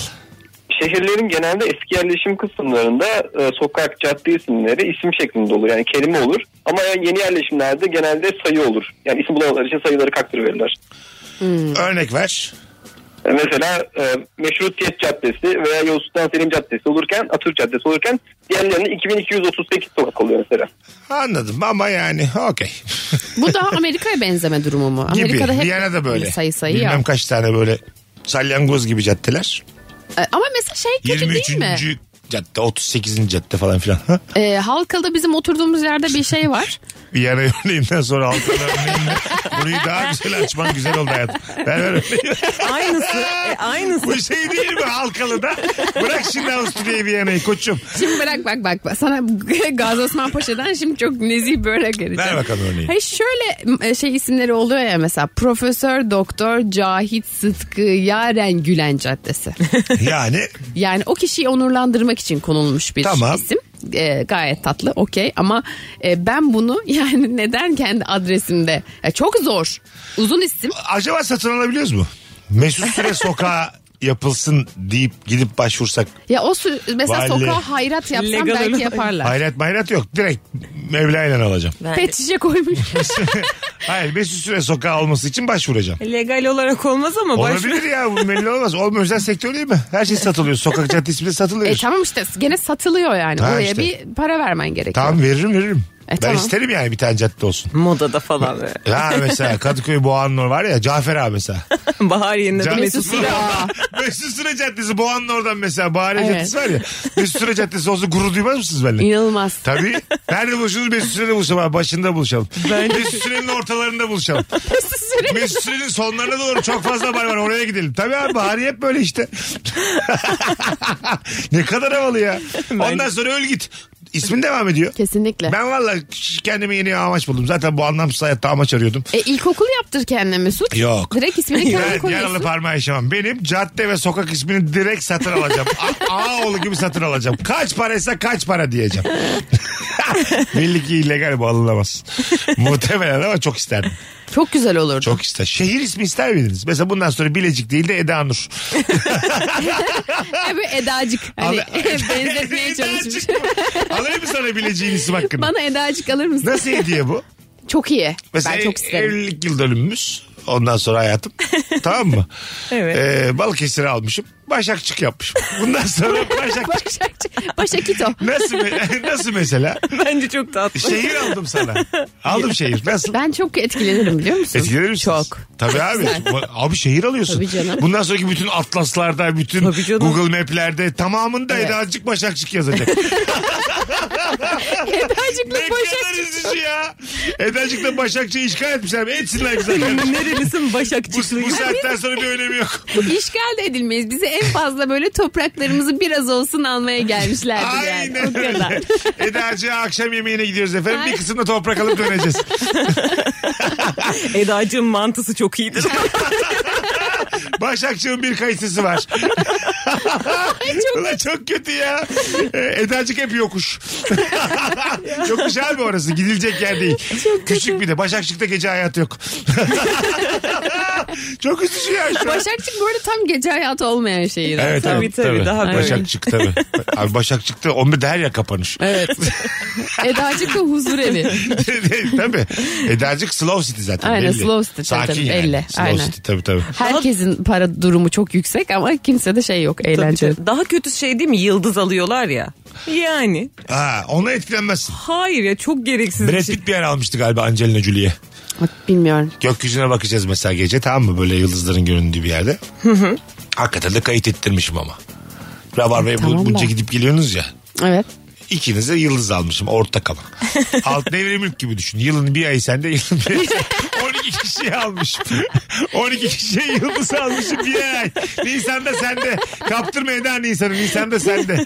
Speaker 8: Şehirlerin genelde eski yerleşim kısımlarında e, sokak, cadde isimleri isim şeklinde olur. Yani kelime olur. Ama yani yeni yerleşimlerde genelde sayı olur. Yani isim bulamaları için sayıları kaktırıverirler.
Speaker 4: Hmm.
Speaker 2: Örnek ver.
Speaker 8: E, mesela e, Meşrutiyet Caddesi veya Yavuz Sultan Selim Caddesi olurken, Atatürk Caddesi olurken diğerlerinde 2238 sokak oluyor mesela.
Speaker 2: Anladım ama yani okey.
Speaker 4: Bu daha Amerika'ya benzeme durumu mu?
Speaker 2: Gibi.
Speaker 4: Amerika'da hep
Speaker 2: Viyana'da böyle.
Speaker 4: sayı sayı
Speaker 2: Bilmem
Speaker 4: ya.
Speaker 2: kaç tane böyle salyangoz gibi caddeler.
Speaker 4: Ee, E, Ama mesela şey kötü değil mi?
Speaker 2: 23. cadde 38. cadde falan filan.
Speaker 4: Ee, Halkalı'da bizim oturduğumuz yerde bir şey var.
Speaker 2: bir yana örneğinden sonra halkalı örneğinde burayı daha güzel açman güzel oldu hayatım. Ver ver örneği.
Speaker 3: Aynısı. e, aynısı.
Speaker 2: Bu şey değil mi halkalıda? Bırak şimdi Avusturya'yı bir yanayı koçum.
Speaker 4: Şimdi bırak bak bak. bak. Sana Gazi Osman Paşa'dan şimdi çok nezih börek vereceğim.
Speaker 2: Ver bakalım örneği.
Speaker 4: Hayır şöyle e, şey isimleri oluyor ya mesela Profesör Doktor Cahit Sıtkı Yaren Gülen Caddesi.
Speaker 2: Yani
Speaker 4: Yani o kişiyi onurlandırmak için konulmuş bir
Speaker 2: Tamam.
Speaker 4: isim. E, gayet tatlı okey ama e, ben bunu yani neden kendi adresimde E, çok zor uzun isim
Speaker 2: acaba satın alabiliyoruz mu? Mesut Süre sokağa yapılsın deyip gidip başvursak.
Speaker 4: ya o sü- mesela
Speaker 2: Vali.
Speaker 4: sokağa hayrat yapsam
Speaker 3: Legal olur.
Speaker 4: belki yaparlar
Speaker 2: Hayrat mayrat yok. Direkt Mevla ile alacağım.
Speaker 4: pet şişe koymuş
Speaker 2: Hayır Mesut Süre sokağa olması için başvuracağım.
Speaker 3: Legal olarak olmaz ama başvuru.
Speaker 2: Olabilir ya bu belli olmaz. Oğlum özel sektör değil mi? Her şey satılıyor. Sokak caddesi bile satılıyor.
Speaker 4: e, tamam işte gene satılıyor yani
Speaker 2: Ha,
Speaker 4: oraya
Speaker 2: işte.
Speaker 4: bir para vermen gerekiyor
Speaker 2: Tamam veririm veririm. ben
Speaker 4: tamam.
Speaker 2: isterim yani bir tane cadde olsun.
Speaker 3: Modada falan. böyle.
Speaker 2: Ha mesela Kadıköy Boğanlı var ya Cafer abi mesela.
Speaker 3: Bahar yerine de
Speaker 2: Ca-
Speaker 3: Mesut Süre.
Speaker 2: Mesut Süre Caddesi Boğan'ın oradan mesela Bahariye
Speaker 4: Evet.
Speaker 2: Caddesi var ya. Mesut Süre Caddesi olsa gurur duymaz mısınız benimle?
Speaker 4: İnanılmaz.
Speaker 2: Tabii. Nerede buluşuruz? Mesut Süre'de buluşalım. abi. Başında buluşalım. Mesut Süre'nin ortalarında buluşalım. Mesut Süre'nin sonlarına doğru çok fazla bar var. Oraya gidelim. Tabii abi Bahariye hep böyle işte. ne kadar havalı ya. Ondan sonra öl git. İsmin devam ediyor.
Speaker 4: Kesinlikle.
Speaker 2: Ben valla kendime yeni amaç buldum. Zaten bu anlamsız hayatta amaç arıyordum.
Speaker 4: E ilkokul yaptır kendine Mesut.
Speaker 2: Yok.
Speaker 4: Direkt ismini kendin
Speaker 2: Ben yaralı
Speaker 4: koyuyorsun.
Speaker 2: parmağı yaşamam. Benim cadde ve sokak ismini direkt satın alacağım. A- Ağaoğlu gibi satın alacağım. Kaç paraysa kaç para diyeceğim. Belli ki illegal bu alınamaz. Muhtemelen ama çok isterdim.
Speaker 4: Çok güzel olurdu.
Speaker 2: Çok ister. Şehir ismi ister miydiniz? Mesela bundan sonra Bilecik değil de Eda Nur.
Speaker 4: E, böyle Edacık. Hani
Speaker 2: Al-
Speaker 4: benzetmeye çalışmış.
Speaker 2: Edacık mı? Alayım mı sana Bilecik'in isim hakkını?
Speaker 4: Bana Edacık alır mısın?
Speaker 2: Nasıl hediye bu?
Speaker 4: Çok iyi.
Speaker 2: Mesela
Speaker 4: ben çok isterim.
Speaker 2: evlilik yıl dönümümüz. Ondan sonra hayatım. tamam mı?
Speaker 3: Evet.
Speaker 2: Ee, Balıkesir'i almışım. Başakçık yapmışım. Bundan sonra Başakçık.
Speaker 4: Başakçı- Başakito.
Speaker 2: Nasıl, me- nasıl mesela?
Speaker 3: Bence çok tatlı.
Speaker 2: Şehir aldım sana. Aldım şehir. Nasıl?
Speaker 4: Ben çok etkilenirim biliyor musun?
Speaker 2: Etkilenir misiniz?
Speaker 4: Çok.
Speaker 2: Tabii abi. Bu- abi şehir alıyorsun.
Speaker 4: Tabii canım.
Speaker 2: Bundan sonraki bütün atlaslarda, bütün
Speaker 3: Tabii canım.
Speaker 2: Google Map'lerde tamamında
Speaker 4: Evet.
Speaker 2: Edacık Başakçık yazacak.
Speaker 4: Edacık'la
Speaker 2: ne kadar
Speaker 4: Başakçı.
Speaker 2: üzücü ya. Edacık'la Başakçık'ı işgal etmişler. Etsinler güzel kardeşim.
Speaker 3: Nerelisin
Speaker 2: Bu,
Speaker 3: Başakçıklı?
Speaker 2: bu saatten sonra bir önemi yok.
Speaker 4: İşgal de edilmeyiz. Bize en fazla böyle topraklarımızı biraz olsun almaya gelmişlerdi yani. O
Speaker 2: Aynen
Speaker 4: kadar.
Speaker 2: öyle. Eda'cığa akşam yemeğine gidiyoruz efendim.
Speaker 4: Ay.
Speaker 2: Bir kısımda toprak alıp döneceğiz.
Speaker 3: Eda'cığım mantısı çok iyidir.
Speaker 2: Başakçı'nın bir kayısısı var. çok, Ulan çok kötü ya. Ee, Eda'cık hep yokuş. yokuş abi orası. Gidilecek yer değil. Küçük bir de. Başakçık'ta gece hayatı yok. çok üzücü ya şu an.
Speaker 4: Başakçı bu arada tam gece hayatı olmayan şehir.
Speaker 2: Evet,
Speaker 3: Tabii,
Speaker 2: evet,
Speaker 3: tabii, daha böyle.
Speaker 2: Başakçık tabii. Abi Başakçık'ta 11'de her yer kapanış.
Speaker 4: Evet. Edacık da huzur evi.
Speaker 2: tabii. Eda'cık slow city zaten.
Speaker 4: Aynen,
Speaker 2: belli.
Speaker 4: slow city tabii,
Speaker 2: Sakin
Speaker 4: tabii,
Speaker 2: yani.
Speaker 4: belli.
Speaker 2: Slow
Speaker 4: Aynen.
Speaker 2: city tabii tabii.
Speaker 4: Herkesin para durumu çok yüksek ama kimse de şey yok eğlence.
Speaker 3: Daha kötü şey değil mi? Yıldız alıyorlar ya. Yani.
Speaker 2: Ha, ona etkilenmezsin.
Speaker 3: Hayır ya çok gereksiz bir
Speaker 2: Brad
Speaker 3: şey.
Speaker 2: Pitt bir yer almıştı galiba Angelina Jolie'ye.
Speaker 4: Bilmiyorum.
Speaker 2: Gökyüzüne bakacağız mesela gece tamam mı? Böyle yıldızların göründüğü bir yerde. Hakikaten de kayıt ettirmişim ama. Rabarba'ya bu-
Speaker 4: Tamam da.
Speaker 2: bunca gidip geliyorsunuz ya.
Speaker 4: Evet.
Speaker 2: İkinize yıldız almışım orta kalan. Alt devre mülk gibi düşün. Yılın bir ayı sende yılın bir ayı sende. 12 kişiye almışım. 12 kişiye yıldız almışım bir ay. Nisan'da sende. Kaptırma Eda Nisan'ı. Nisan'da sende.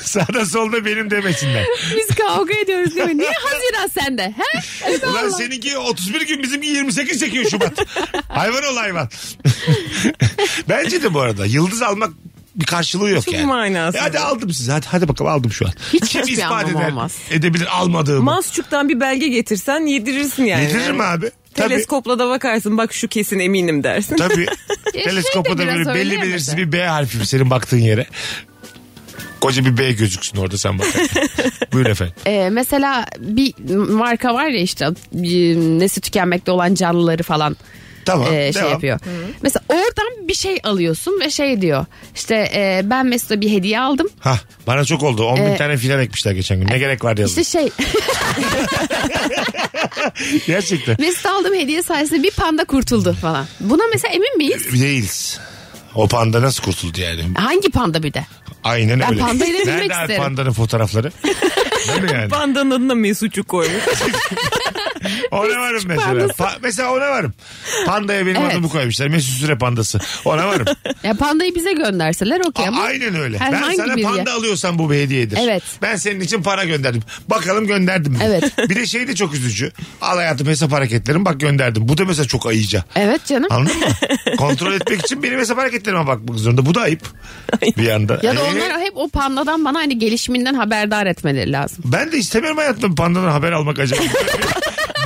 Speaker 2: Sağda solda benim demesinler.
Speaker 4: Biz kavga ediyoruz değil mi? Niye Haziran sende? He?
Speaker 2: Ulan seninki 31 gün bizimki 28 çekiyor Şubat. hayvan ol hayvan. Bence de bu arada yıldız almak bir karşılığı yok
Speaker 3: Çok
Speaker 2: yani.
Speaker 3: manasız.
Speaker 2: E hadi aldım sizi. Hadi, hadi bakalım aldım şu an.
Speaker 4: Hiç hiçbir anlamı
Speaker 2: eder,
Speaker 4: olmaz.
Speaker 2: edebilir almadığımı?
Speaker 3: Masçuk'tan bir belge getirsen yedirirsin yani.
Speaker 2: Yediririm abi. Tabii.
Speaker 3: Teleskopla da bakarsın bak şu kesin eminim dersin.
Speaker 2: Tabii.
Speaker 4: Keşke
Speaker 2: Teleskopa
Speaker 4: de
Speaker 2: da
Speaker 4: biraz
Speaker 2: böyle belli
Speaker 4: öyleyemedi.
Speaker 2: belirsiz bir B harfi mi senin baktığın yere. Koca bir B gözüksün orada sen bak. Buyur efendim.
Speaker 4: Ee, mesela bir marka var ya işte e, nesli tükenmekte olan canlıları falan
Speaker 2: Tamam.
Speaker 4: e, şey
Speaker 2: devam.
Speaker 4: yapıyor. Mesela oradan bir şey alıyorsun ve şey diyor. İşte e, ben Mesut'a bir hediye aldım.
Speaker 2: Hah, bana çok oldu. 10 bin
Speaker 4: Ee,
Speaker 2: tane filan ekmişler geçen gün. Ne gerek var yazdım.
Speaker 4: İşte şey
Speaker 2: Gerçekten.
Speaker 4: Mesut aldığım hediye sayesinde bir panda kurtuldu falan. Buna mesela emin miyiz?
Speaker 2: Değiliz. O panda nasıl kurtuldu yani?
Speaker 4: Hangi panda bir de?
Speaker 2: Aynen öyle.
Speaker 4: pandayı da bilmek
Speaker 2: Nerede
Speaker 4: isterim.
Speaker 2: Pandanın fotoğrafları? Değil mi yani?
Speaker 3: Pandanın adına Mesut'u koymuş.
Speaker 2: Ona varım mesela. Pa- mesela ona varım. Pandaya benim
Speaker 4: Evet.
Speaker 2: adımı koymuşlar. Mesut Süre pandası. Ona varım.
Speaker 4: Ya pandayı bize gönderseler okey
Speaker 2: A-
Speaker 4: ama.
Speaker 2: Aynen öyle. ben
Speaker 4: herhangi
Speaker 2: sana
Speaker 4: bir
Speaker 2: panda
Speaker 4: yer.
Speaker 2: alıyorsan bu bir hediyedir.
Speaker 4: Evet.
Speaker 2: Ben senin için para gönderdim. Bakalım gönderdim. mi?
Speaker 4: Evet.
Speaker 2: bir de şey de çok üzücü. Al hayatım hesap hareketlerim bak gönderdim. Bu da mesela çok ayıca.
Speaker 4: Evet canım.
Speaker 2: Anladın mı? Kontrol etmek için benim hesap hareketlerime bakmak zorunda. Bu da ayıp. bir yanda.
Speaker 4: Ya da
Speaker 2: Ee,
Speaker 4: onlar hep o pandadan bana hani gelişiminden haberdar etmeleri lazım.
Speaker 2: Ben de istemiyorum hayatım pandadan haber almak acaba.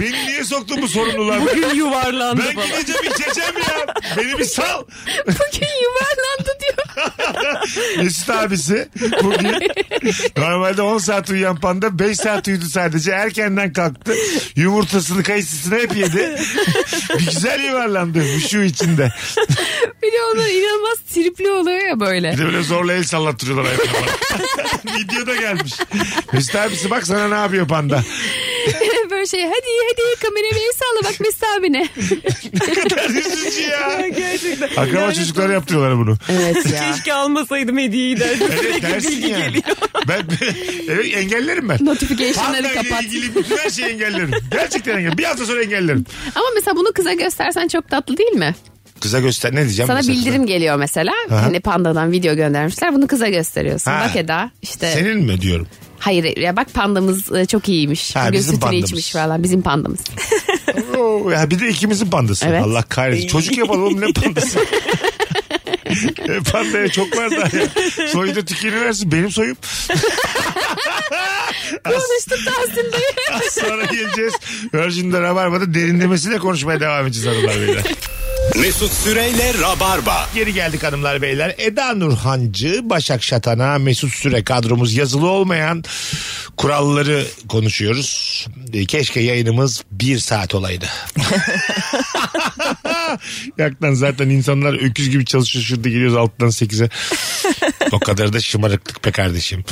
Speaker 2: Beni niye soktun bu sorumluluğa?
Speaker 3: Bugün yuvarlandı
Speaker 2: Ben
Speaker 3: bana.
Speaker 2: gideceğim içeceğim ya. Beni bir sal.
Speaker 4: Bugün yuvarlandı diyor.
Speaker 2: Mesut abisi bugün normalde 10 saat uyuyan panda 5 saat uyudu sadece. Erkenden kalktı. Yumurtasını kayısısını hep yedi. bir güzel yuvarlandı şu içinde.
Speaker 4: Bir de onlar inanılmaz tripli oluyor ya böyle.
Speaker 2: Bir de böyle zorla el sallattırıyorlar hayatına. Video da gelmiş. Mesut abisi bak sana ne yapıyor panda.
Speaker 4: böyle şey hadi hadi kameraya bir el salla bak Mesut abine.
Speaker 2: Ne kadar üzücü ya.
Speaker 3: Gerçekten.
Speaker 2: Akraba
Speaker 3: Yani
Speaker 2: çocuklara yaptırıyorlar bunu.
Speaker 4: evet ya.
Speaker 3: Keşke almasaydım hediyeyi de.
Speaker 2: Evet dersin
Speaker 3: bilgi
Speaker 2: yani.
Speaker 3: geliyor.
Speaker 2: Ben, evet engellerim ben.
Speaker 4: Notification'ları
Speaker 2: Panda ile
Speaker 4: kapat.
Speaker 2: ilgili bütün her şeyi engellerim. Gerçekten engellerim. Bir hafta sonra engellerim.
Speaker 4: Ama mesela bunu kıza göstersen çok tatlı değil mi?
Speaker 2: Kıza göster ne diyeceğim?
Speaker 4: Sana
Speaker 2: mesela kıza?
Speaker 4: bildirim geliyor mesela. Hani pandadan video göndermişler. Bunu kıza gösteriyorsun.
Speaker 2: Ha.
Speaker 4: Bak Eda işte
Speaker 2: Senin mi diyorum?
Speaker 4: hayır ya bak pandamız e, çok iyiymiş.
Speaker 2: Ha,
Speaker 4: Bugün
Speaker 2: bizim
Speaker 4: sütünü
Speaker 2: pandamız.
Speaker 4: içmiş falan bizim pandamız.
Speaker 2: Oo, ya bir de ikimizin pandası.
Speaker 4: Evet.
Speaker 2: Allah kahretsin. Çocuk yapalım oğlum ne pandası? E, Pandaya çok var daha ya. Soyu da tükeniversin. Benim soyum.
Speaker 4: Konuştuk Tahsin Bey.
Speaker 2: Az sonra geleceğiz. Virgin'de Rabarba'da derinlemesine konuşmaya devam edeceğiz hanımlar beyler.
Speaker 1: Mesut Süreyle Rabarba.
Speaker 2: Geri geldik hanımlar beyler. Eda Nurhancı, Başak Şatana, Mesut Süre kadromuz yazılı olmayan kuralları konuşuyoruz. E, Keşke yayınımız bir saat olaydı. Yaktan zaten insanlar öküz gibi çalışıyor şurada geliyoruz alttan sekize. o kadar da şımarıklık be kardeşim.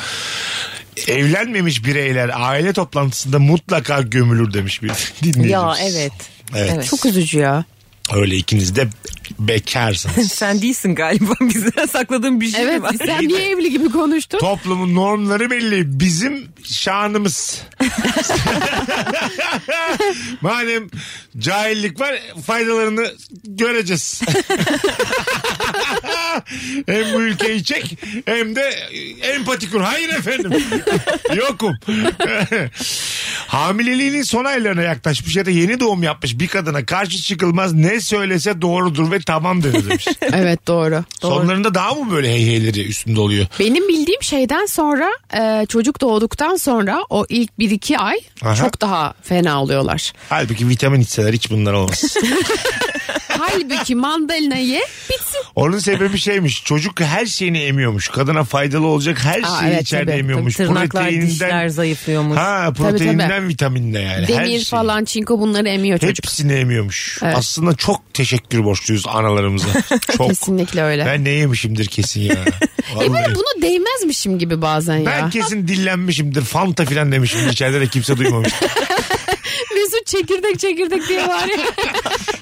Speaker 2: Evlenmemiş bireyler aile toplantısında mutlaka gömülür demiş bir dinleyicimiz.
Speaker 4: ya evet.
Speaker 2: Evet.
Speaker 4: Çok üzücü ya.
Speaker 2: Öyle ikiniz de bekarsınız.
Speaker 3: Sen değilsin galiba bizden sakladığın bir şey
Speaker 4: Evet
Speaker 3: var.
Speaker 4: sen niye evli gibi konuştun?
Speaker 2: Toplumun normları belli. Bizim şanımız. Madem cahillik var faydalarını göreceğiz. hem bu ülkeyi çek hem de empati kur. Hayır efendim. Yokum. Hamileliğinin son aylarına yaklaşmış ya da yeni doğum yapmış bir kadına karşı çıkılmaz ne söylese doğrudur ve tamam denir demiş.
Speaker 4: evet doğru. doğru.
Speaker 2: Sonlarında daha mı böyle heyheyleri üstünde oluyor?
Speaker 4: Benim bildiğim şeyden sonra e, çocuk doğduktan sonra o ilk 1-2 ay
Speaker 2: Aha.
Speaker 4: çok daha fena oluyorlar.
Speaker 2: Halbuki vitamin içseler hiç bunlar olmaz.
Speaker 4: Halbuki mandalina ye bitsin.
Speaker 2: Onun sebebi şeymiş. Çocuk her şeyini emiyormuş. Kadına faydalı olacak her
Speaker 4: Aa,
Speaker 2: şeyi
Speaker 4: evet,
Speaker 2: içeride
Speaker 4: tabii.
Speaker 2: emiyormuş.
Speaker 3: Tırnaklar, dişler zayıflıyormuş.
Speaker 2: Ha
Speaker 4: tabii.
Speaker 2: proteininden vitaminle yani. her
Speaker 4: Demir
Speaker 2: şeyi.
Speaker 4: falan çinko bunları emiyor çocuk.
Speaker 2: Hepsini emiyormuş.
Speaker 4: Evet.
Speaker 2: Aslında çok teşekkür borçluyuz analarımıza. Çok.
Speaker 4: Kesinlikle öyle.
Speaker 2: Ben ne yemişimdir kesin ya.
Speaker 4: E
Speaker 2: Vallahi.
Speaker 4: ben buna değmezmişim gibi bazen
Speaker 2: Ben
Speaker 4: ya.
Speaker 2: kesin dillenmişimdir. Fanta filan demişim. İçeride de kimse duymamış.
Speaker 4: Mesut çekirdek çekirdek diye var ya.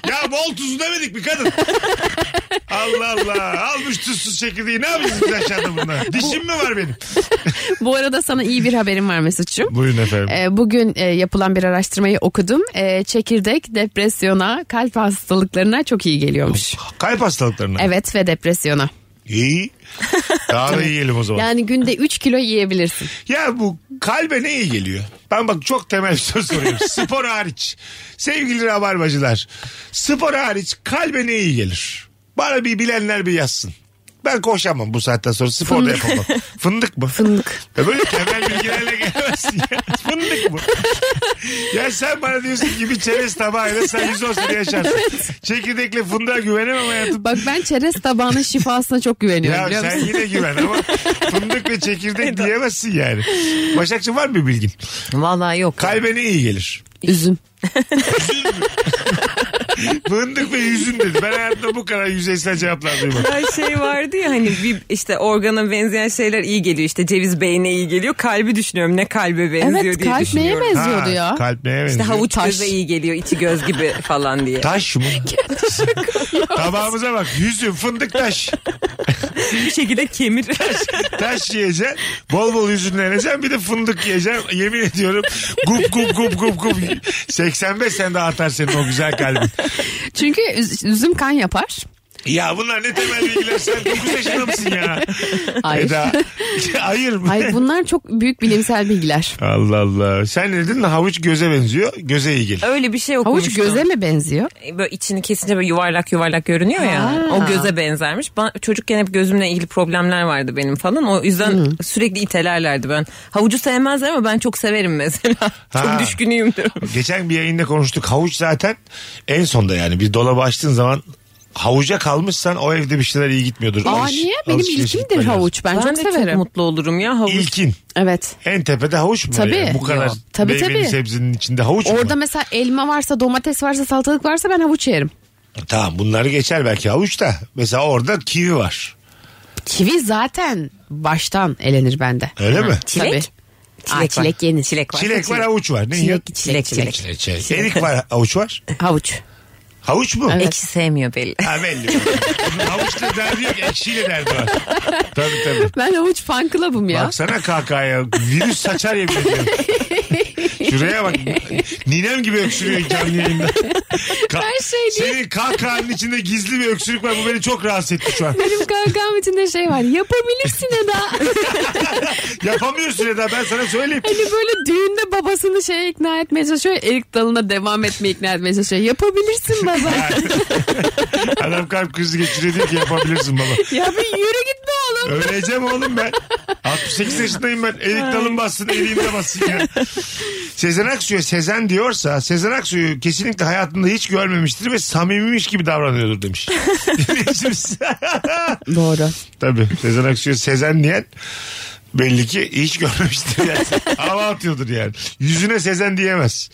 Speaker 2: ya bol tuzu demedik mi kadın? Allah Allah. Almış tuzsuz çekirdeği. Ne yapacağız biz aşağıda bunlar? Dişim mi var benim?
Speaker 4: Bu arada sana iyi bir haberim var Mesut'cum.
Speaker 2: Buyurun efendim.
Speaker 4: E, Bugün e, yapılan bir araştırmayı okudum. E, Çekirdek depresyona, kalp hastalıklarına çok iyi geliyormuş.
Speaker 2: Kalp hastalıklarına.
Speaker 4: Evet ve depresyona.
Speaker 2: İyi. Daha da yiyelim o zaman.
Speaker 4: Yani günde 3 kilo yiyebilirsin.
Speaker 2: Ya bu kalbe ne iyi geliyor? Ben bak çok temel bir soru soruyorum. Spor hariç. Sevgili rabarbacılar. Spor hariç kalbe ne iyi gelir? Bana bir bilenler bir yazsın. Ben koşamam bu saatten sonra spor da yapamam. Fındık mı?
Speaker 4: Fındık.
Speaker 2: Ya böyle temel bilgilerle gelemezsin ya. Fındık mı? ya sen bana diyorsun ki bir çerez tabağıyla sen 110 sene yaşarsın. Çekirdekle fındığa güvenemem hayatım.
Speaker 4: Bak ben çerez tabağının şifasına çok güveniyorum
Speaker 2: Ya
Speaker 4: biliyor
Speaker 2: sen
Speaker 4: musun?
Speaker 2: yine güven ama fındık ve çekirdek diyemezsin yani. Başakçı var mı bir bilgin?
Speaker 3: Vallahi yok.
Speaker 2: Kalbe ne iyi gelir?
Speaker 4: Üzüm.
Speaker 2: Fındık ve yüzüm dedi. Ben hayatımda bu kadar yüzeysel cevaplar duymadım.
Speaker 3: Her şey vardı ya hani bir işte organa benzeyen şeyler iyi geliyor işte ceviz beyne iyi geliyor kalbi düşünüyorum ne kalbe benziyor
Speaker 4: Evet
Speaker 3: diye
Speaker 4: kalp neye
Speaker 3: düşünüyorum.
Speaker 4: benziyordu
Speaker 2: Ha,
Speaker 4: ya?
Speaker 2: Kalp neye benziyor?
Speaker 3: İşte havuç
Speaker 4: Taş.
Speaker 3: göze iyi geliyor içi göz gibi falan diye.
Speaker 2: Taş mı? Tabağımıza bak. Yüzüm fındık taş.
Speaker 3: bir şekilde kemir.
Speaker 2: Taş yiyeceksin. Bol bol yüzünleneceksin. Bir de fındık yiyeceksin. Yemin ediyorum. Gup gup gup gup gup. 85 sen daha atar senin o güzel kalbin.
Speaker 4: Çünkü üz- üzüm kan yapar.
Speaker 2: Ya bunlar ne temel bilgiler. Sen 9 yaşında mısın ya?
Speaker 4: Hayır.
Speaker 2: Eda. Hayır mı?
Speaker 4: Hayır bunlar çok büyük bilimsel bilgiler.
Speaker 2: Allah Allah. Sen ne dedin? Havuç göze benziyor. Göze iyi gelir.
Speaker 3: Öyle bir şey
Speaker 4: Havuç
Speaker 3: okumuştum.
Speaker 4: göze mi benziyor?
Speaker 3: böyle içini kesince böyle yuvarlak yuvarlak görünüyor ya.
Speaker 4: Ha.
Speaker 3: O göze benzermiş. Ben, çocukken hep gözümle ilgili problemler vardı benim falan. O yüzden sürekli itelerlerdi ben. Havucu sevmezler ama ben çok severim mesela.
Speaker 2: Ha.
Speaker 3: Çok düşkünüyümdür.
Speaker 2: Geçen bir yayında konuştuk. Havuç zaten en sonda yani. Bir dolabı açtığın zaman havuca kalmışsan o evde bir şeyler iyi gitmiyordur.
Speaker 4: Aa
Speaker 2: Alış-
Speaker 4: niye? Benim
Speaker 2: alışverişe
Speaker 4: ilkimdir
Speaker 2: gitmen lazım.
Speaker 4: havuç. Ben,
Speaker 3: Ben,
Speaker 4: çok
Speaker 3: de
Speaker 4: severim.
Speaker 3: çok mutlu olurum ya havuç.
Speaker 2: İlkin.
Speaker 4: Evet.
Speaker 2: En tepede havuç mu? var
Speaker 4: Tabii.
Speaker 2: yani? Bu kadar
Speaker 4: Yok. Tabii,
Speaker 2: meyvenin
Speaker 4: tabii.
Speaker 2: sebzinin içinde havuç mu?
Speaker 4: Orada
Speaker 2: var?
Speaker 4: mesela elma varsa, domates varsa, salatalık varsa ben havuç yerim.
Speaker 2: Tamam bunları geçer belki havuç da. Mesela orada kivi var.
Speaker 4: Kivi zaten baştan elenir bende.
Speaker 2: Öyle mi?
Speaker 4: Tabii. Aa,
Speaker 3: var.
Speaker 4: çilek yenir.
Speaker 3: Çilek var.
Speaker 2: Çilek var havuç var. Ne ya?
Speaker 4: Çilek, çilek, çilek.
Speaker 2: Çilek, çilek. Erik var havuç var.
Speaker 4: Havuç.
Speaker 2: Havuç mu?
Speaker 4: Evet.
Speaker 3: Ekşi sevmiyor belli.
Speaker 2: Ha belli. Havuçla derdi yok ekşiyle derdi var. Tabii tabii.
Speaker 4: Ben havuç fan club'ım ya.
Speaker 2: Baksana kahkahaya. Virüs saçar yemin ediyorum. Şuraya bak. Ninem gibi öksürüyor canlı yayında. Ka-
Speaker 4: Her şey değil.
Speaker 2: Senin kahkahanın içinde gizli bir öksürük var. Bu beni çok rahatsız etti şu an.
Speaker 4: Benim kankam içinde şey var. Yapabilirsin Eda.
Speaker 2: Yapamıyorsun Eda ben sana söyleyeyim.
Speaker 4: Hani böyle düğünde babasını şeye ikna etmeye çalışıyor. Erik dalına devam etmeye ikna etmeye çalışıyor. Yapabilirsin baba.
Speaker 2: Adam kalp krizi geçiriyor diyor ki yapabilirsin baba.
Speaker 4: ya bir yürü git be oğlum.
Speaker 2: Öleceğim oğlum ben. 68 yaşındayım ben. Erik dalım bassın, eriğim de bassın ya. Sezen Aksu'ya Sezen diyorsa Sezen Aksu'yu kesinlikle hayatında hiç görmemiştir ve samimiymiş gibi davranıyordur demiş. Dinleyicimiz.
Speaker 4: Doğru.
Speaker 2: Tabii Sezen Aksu'ya Sezen diyen belli ki hiç görmemiştir yani. Hava atıyordur yani. Yüzüne Sezen diyemez.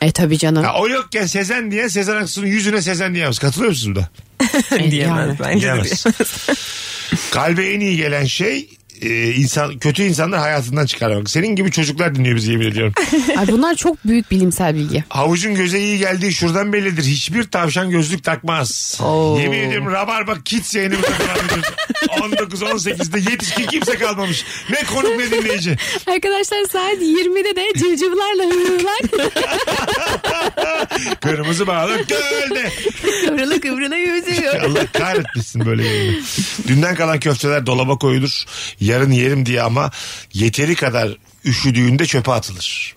Speaker 4: E tabii canım.
Speaker 2: Ha, o yokken Sezen diyen Sezen Aksu'nun yüzüne Sezen diyemez. Katılıyor musunuz da?
Speaker 4: E, yani.
Speaker 3: Diyemez bence de
Speaker 2: Yemez. Kalbe en iyi gelen şey e, insan kötü insanlar hayatından çıkarmak. Senin gibi çocuklar dinliyor bizi yemin ediyorum.
Speaker 4: Ay bunlar çok büyük bilimsel bilgi.
Speaker 2: Havucun göze iyi geldiği şuradan bellidir. Hiçbir tavşan gözlük takmaz.
Speaker 4: Oo.
Speaker 2: Yemin ediyorum Rabarba Kids yayınımıza devam ediyoruz. 19-18'de yetişkin kimse kalmamış. Ne konuk ne dinleyici.
Speaker 4: Arkadaşlar saat 20'de de civcivlerle hırlar
Speaker 2: Kırmızı bağlı gölde.
Speaker 4: kıvrıla kıvrıla yüzüyor.
Speaker 2: Allah kahretmesin böyle yayını. Dünden kalan köfteler dolaba koyulur. Yarın yerim diye ama yeteri kadar üşüdüğünde çöpe atılır.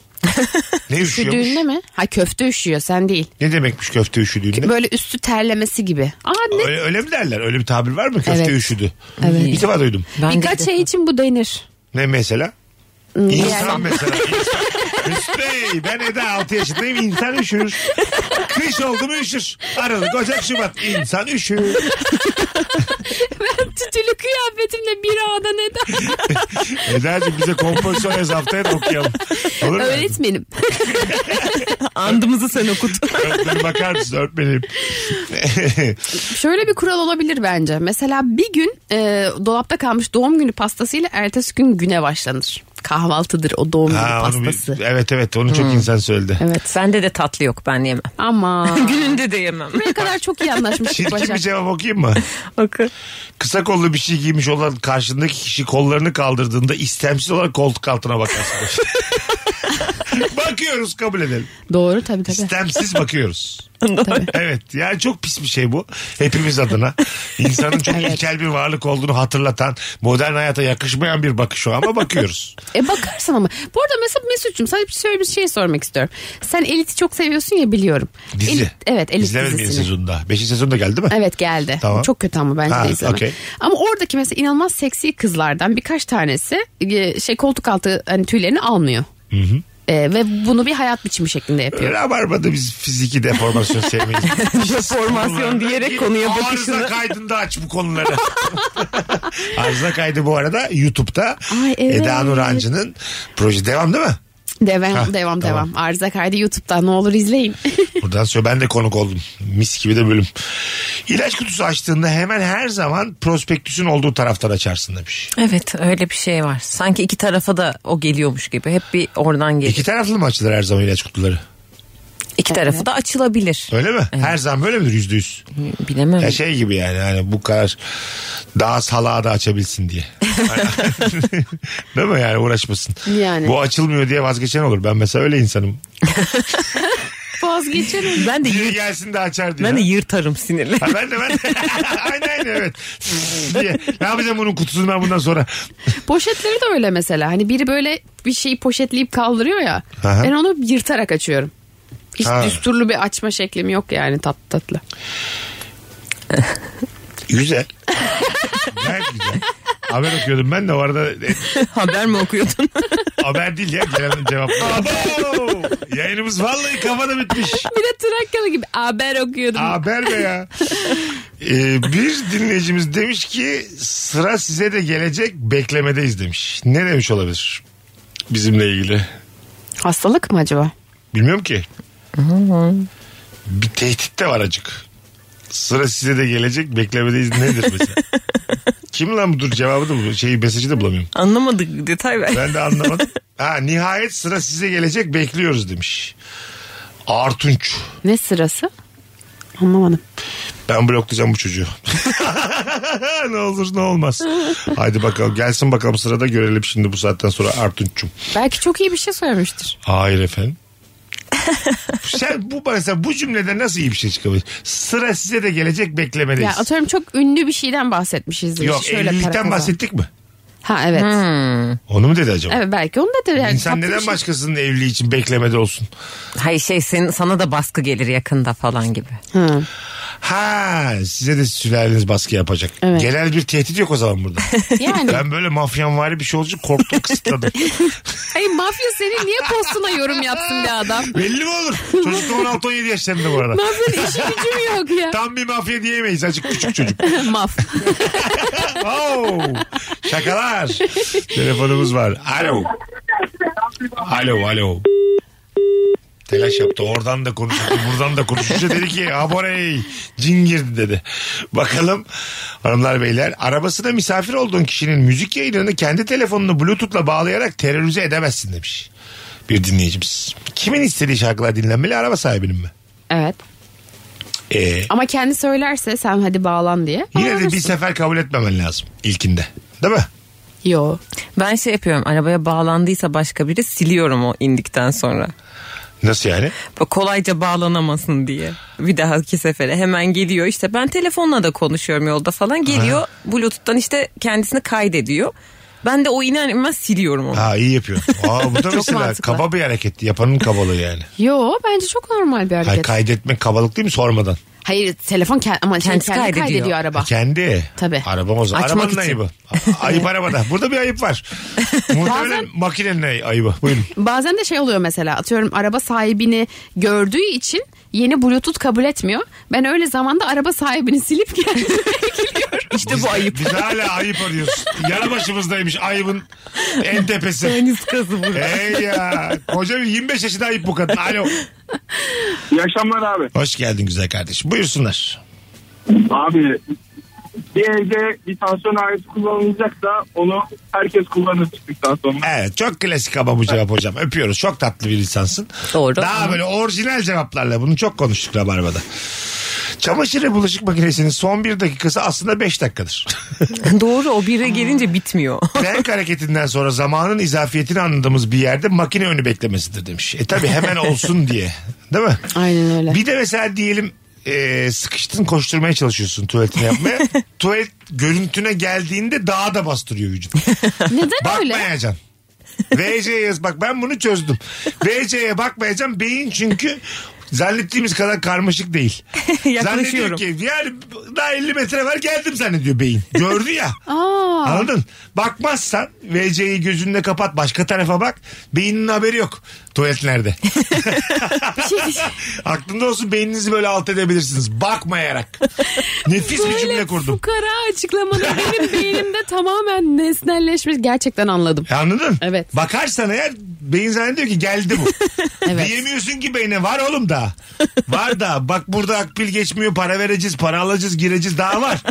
Speaker 2: Ne üşüyormuş?
Speaker 4: Üşüdüğünde mi? Ha köfte üşüyor sen değil.
Speaker 2: Ne demekmiş köfte üşüdüğünde?
Speaker 4: Böyle üstü terlemesi gibi. Aa ne?
Speaker 2: Öyle, öyle mi derler? Öyle bir tabir var mı? Köfte
Speaker 4: Evet.
Speaker 2: üşüdü.
Speaker 4: Evet.
Speaker 2: İlk defa duydum.
Speaker 4: Birkaç şey için bu denir.
Speaker 2: Ne mesela? İnsan
Speaker 4: Hmm. yani-
Speaker 2: mesela. İnsan. Mesut Bey ben Eda 6 yaşındayım insan üşür. Kış oldu mu üşür. Aralık Ocak Şubat insan üşür.
Speaker 4: Ben tütülü kıyafetimle bir ağda neden?
Speaker 2: Eda'cığım bize kompozisyon yaz haftaya da okuyalım. Olur mu?
Speaker 4: Öğretmenim.
Speaker 3: Andımızı sen okut.
Speaker 2: Öğretmenim bakar mısın öğretmenim?
Speaker 4: Şöyle bir kural olabilir bence. Mesela bir gün e, dolapta kalmış doğum günü pastasıyla ertesi gün güne başlanır. Kahvaltıdır o doğum günü
Speaker 2: ha, onu bir-
Speaker 4: pastası. Hmm.
Speaker 2: evet evet onu çok insan söyledi.
Speaker 4: Evet.
Speaker 3: Bende de tatlı yok ben yemem.
Speaker 4: Ama
Speaker 3: Gününde de yemem.
Speaker 4: ne kadar çok iyi anlaşmıştık
Speaker 2: Çirkin bir
Speaker 4: Başak.
Speaker 2: cevap okuyayım mı?
Speaker 3: Bakın.
Speaker 2: Kısa kollu bir şey giymiş olan karşındaki kişi kollarını kaldırdığında istemsiz olarak koltuk altına bakarsın. Bakıyoruz kabul edelim.
Speaker 4: Doğru tabii tabii.
Speaker 2: İstemsiz bakıyoruz. evet yani çok pis bir şey bu. Hepimiz adına. İnsanın çok ilkel bir varlık olduğunu hatırlatan, modern hayata yakışmayan bir bakış o ama bakıyoruz.
Speaker 4: E bakarsın ama. Bu arada mesela Mesut'cum sana bir- şöyle bir şey sormak istiyorum. Sen Elit'i çok seviyorsun ya biliyorum.
Speaker 2: Dizi.
Speaker 4: Elit- evet Elit
Speaker 2: İzlemedim yeni
Speaker 4: dizisini.
Speaker 2: sezonda. Beşinci sezonda geldi mi?
Speaker 4: Evet geldi.
Speaker 2: Tamam.
Speaker 4: Çok kötü ama bence
Speaker 2: Ha,
Speaker 4: de izleme.
Speaker 2: okey.
Speaker 4: Ama oradaki mesela inanılmaz seksi kızlardan birkaç tanesi e, şey koltuk altı hani tüylerini almıyor. E, ve bunu bir hayat biçimi şeklinde yapıyor.
Speaker 2: Rabarba'da biz fiziki deformasyon sevmeyiz.
Speaker 3: Deformasyon diyerek konuya
Speaker 2: Arıza
Speaker 3: bakışını.
Speaker 2: kaydında aç bu konuları. Arıza kaydı bu arada YouTube'da
Speaker 4: Ay, evet.
Speaker 2: Eda Nurancı'nın proje devam değil mi?
Speaker 4: Devam
Speaker 2: Hah,
Speaker 4: devam
Speaker 2: tamam.
Speaker 4: devam. Arıza kaydı YouTube'da ne olur izleyin.
Speaker 2: Buradan sonra ben de konuk oldum. Mis gibi de bölüm. İlaç kutusu açtığında hemen her zaman prospektüsün olduğu taraftan açarsın demiş.
Speaker 3: Evet öyle bir şey var. Sanki iki tarafa da o geliyormuş gibi. Hep bir oradan geliyor.
Speaker 2: İki
Speaker 3: İki,
Speaker 2: taraflı mı açılır her zaman ilaç kutuları?
Speaker 3: tarafı da açılabilir.
Speaker 2: Öyle mi? Her zaman böyle midir yüzde yüz?
Speaker 3: Bilemem.
Speaker 2: Ya şey gibi yani hani bu kadar daha salağı da açabilsin diye. Değil mi yani uğraşmasın.
Speaker 4: Yani.
Speaker 2: Bu açılmıyor diye vazgeçen olur. Ben mesela öyle insanım.
Speaker 4: Vazgeçerim.
Speaker 3: Ben de
Speaker 2: Biri
Speaker 3: yırt,
Speaker 2: gelsin de açar diye.
Speaker 3: ben de yırtarım sinirle.
Speaker 2: Ha, ben de ben de. aynen aynen evet. diye. Ne yapacağım bunun kutusunu ben bundan sonra.
Speaker 4: Poşetleri de öyle mesela. Hani biri böyle bir şeyi poşetleyip kaldırıyor ya.
Speaker 2: Aha.
Speaker 4: Ben onu yırtarak açıyorum. Hiç
Speaker 2: Ha.
Speaker 4: düsturlu bir açma şeklim yok yani tatlı tatlı.
Speaker 2: Güzel. Gayet güzel. Haber okuyordum ben de o arada e,
Speaker 3: Haber mi okuyordun?
Speaker 2: haber değil ya gelen cevap. Abo! Yayınımız vallahi kafada bitmiş.
Speaker 4: Bir de Trakyalı gibi haber okuyordum.
Speaker 2: Haber be ya. Ee, bir dinleyicimiz demiş ki sıra size de gelecek beklemedeyiz demiş. Ne demiş olabilir bizimle ilgili?
Speaker 4: Hastalık mı acaba?
Speaker 2: Bilmiyorum ki. bir tehdit de var acık. Sıra size de gelecek beklemedeyiz nedir mesela? Kim lan budur cevabı da bu şeyi mesajı da bulamıyorum.
Speaker 3: Anlamadık detay ver.
Speaker 2: Ben de anlamadım. ha nihayet sıra size gelecek bekliyoruz demiş. Artunç.
Speaker 4: Ne sırası? Anlamadım.
Speaker 2: Ben bloklayacağım bu çocuğu. ne olur ne olmaz. Haydi bakalım gelsin bakalım sırada görelim şimdi bu saatten sonra Artunç'um.
Speaker 4: Belki çok iyi bir şey söylemiştir.
Speaker 2: Hayır efendim. Sen bu mesela bu cümlede nasıl iyi bir şey çıkabilir? Sıra size de gelecek beklemedeyiz.
Speaker 4: Ya atıyorum çok ünlü bir şeyden bahsetmişizdir.
Speaker 2: Yok
Speaker 4: Şöyle para
Speaker 2: 50'likten
Speaker 4: kazan.
Speaker 2: bahsettik mi?
Speaker 4: Ha evet.
Speaker 2: Onu mu dedi acaba?
Speaker 4: Evet belki onu da de yani
Speaker 2: İnsan
Speaker 4: tatlı bir
Speaker 2: neden
Speaker 4: şey.
Speaker 2: başkasının evliliği için beklemede olsun?
Speaker 3: Hayır şey senin, sana da baskı gelir yakında falan gibi.
Speaker 2: Ha size de sülaleniz baskı yapacak.
Speaker 4: Evet. Hani-
Speaker 2: Genel bir tehdit yok o zaman burada.
Speaker 4: Yani
Speaker 2: ben böyle mafyanvari bir şey olacak korktum kısıtladım.
Speaker 4: hayır mafya senin niye postuna yorum yapsın bir adam?
Speaker 2: Belli mi olur? Çocuk da 16-17 yaşlarında bu arada.
Speaker 4: Mafyanın işi gücüm yok ya.
Speaker 2: Tam bir mafya diyemeyiz acık küçük çocuk.
Speaker 4: Maf.
Speaker 2: Oo, şakalar. Telefonumuz var. Alo. Alo alo. Telaş yaptı. Oradan da konuştu. Buradan da konuşunca dedi ki aboney cin girdi dedi. Bakalım hanımlar beyler arabasına misafir olduğun kişinin müzik yayınını kendi telefonunu bluetooth'la bağlayarak terörize edemezsin demiş. Bir dinleyicimiz. Kimin istediği şarkılar dinlenmeli araba sahibinin mi?
Speaker 4: Evet.
Speaker 2: Ee,
Speaker 4: Ama kendi söylerse sen hadi bağlan diye.
Speaker 2: yine de
Speaker 4: bağlanırsın.
Speaker 2: bir sefer kabul etmemen lazım ilkinde. Değil mi?
Speaker 4: Yo.
Speaker 3: Ben şey yapıyorum arabaya bağlandıysa başka biri siliyorum o indikten sonra.
Speaker 2: Nasıl yani?
Speaker 3: Bak, Kolayca bağlanamasın diye. Bir dahaki sefere hemen geliyor işte ben telefonla da konuşuyorum yolda falan geliyor. Bluetooth'tan işte kendisini kaydediyor. Ben de o iner inmez siliyorum onu.
Speaker 2: Ha iyi yapıyor. Aa bu da mesela
Speaker 3: mantıklı.
Speaker 2: kaba bir hareket. Yapanın kabalığı yani.
Speaker 4: Yo bence çok normal bir
Speaker 2: Hayır,
Speaker 4: hareket.
Speaker 2: kaydetmek kabalık değil mi sormadan? E,
Speaker 4: Hayır telefon kend- ama kendi,
Speaker 3: Kendisi
Speaker 4: kendi kaydediyor.
Speaker 3: kaydediyor
Speaker 4: araba.
Speaker 2: Kendi.
Speaker 4: Tabii.
Speaker 2: Arabam o zaman.
Speaker 3: Açmak
Speaker 2: Arabanın
Speaker 3: için.
Speaker 2: ayıbı. A- Ayıp arabada. Burada bir ayıp var. Muhtemelen
Speaker 4: Bazen-
Speaker 2: makinenin ay- ayıbı. Buyurun.
Speaker 4: Bazen de şey oluyor mesela atıyorum araba sahibini gördüğü için yeni bluetooth kabul etmiyor. Ben öyle zamanda araba sahibini silip geldim.
Speaker 2: İşte bu ayıp. Biz hala ayıp arıyoruz. Yara başımızdaymış ayıbın en tepesi.
Speaker 3: Kızı bu.
Speaker 2: Ey ya. Koca bir 25 yaşında ayıp bu kadın. Alo.
Speaker 7: İyi akşamlar abi.
Speaker 2: Hoş geldin güzel kardeşim. Buyursunlar.
Speaker 7: Abi bir evde bir tansiyon aleti kullanılacaksa onu herkes kullanır çıktıktan sonra.
Speaker 2: Evet çok klasik ama bu cevap hocam. Öpüyoruz. Çok tatlı bir insansın.
Speaker 3: Doğru.
Speaker 2: Daha böyle orijinal cevaplarla bunu çok konuştuk Rabarba'da. Çamaşır ve bulaşık makinesinin son bir dakikası aslında beş dakikadır.
Speaker 3: Doğru o bire gelince bitmiyor.
Speaker 2: Renk hareketinden sonra zamanın izafiyetini anladığımız bir yerde makine önü beklemesidir demiş. E tabi hemen olsun diye. Değil mi?
Speaker 4: Aynen öyle.
Speaker 2: Bir de mesela diyelim e, sıkıştın koşturmaya çalışıyorsun tuvaletini yapmaya. Tuvalet görüntüne geldiğinde daha da bastırıyor vücut.
Speaker 4: Neden öyle?
Speaker 2: Bakmayacaksın. VC'ye yaz. Bak ben bunu çözdüm. VC'ye bakmayacağım. Beyin çünkü Zannettiğimiz kadar karmaşık değil. Zannediyor
Speaker 3: Yaklaşıyorum.
Speaker 2: ki yani daha 50 metre var geldim zannediyor beyin. Gördü ya.
Speaker 4: Aa.
Speaker 2: Anladın? Bakmazsan VC'yi gözünde kapat başka tarafa bak. Beyninin haberi yok. Tuvalet nerede?
Speaker 4: şey
Speaker 2: Aklında olsun beyninizi böyle alt edebilirsiniz. Bakmayarak. Nefis bir cümle kurdum.
Speaker 4: Fukara açıklamaları benim beynimde tamamen nesnelleşmiş. Gerçekten anladım.
Speaker 2: E, Anladın?
Speaker 4: Evet.
Speaker 2: Bakarsan eğer beyin zannediyor ki geldi bu.
Speaker 4: Evet.
Speaker 2: Diyemiyorsun ki beyne var oğlum daha. Var da bak burada akbil geçmiyor para vereceğiz para alacağız gireceğiz daha var.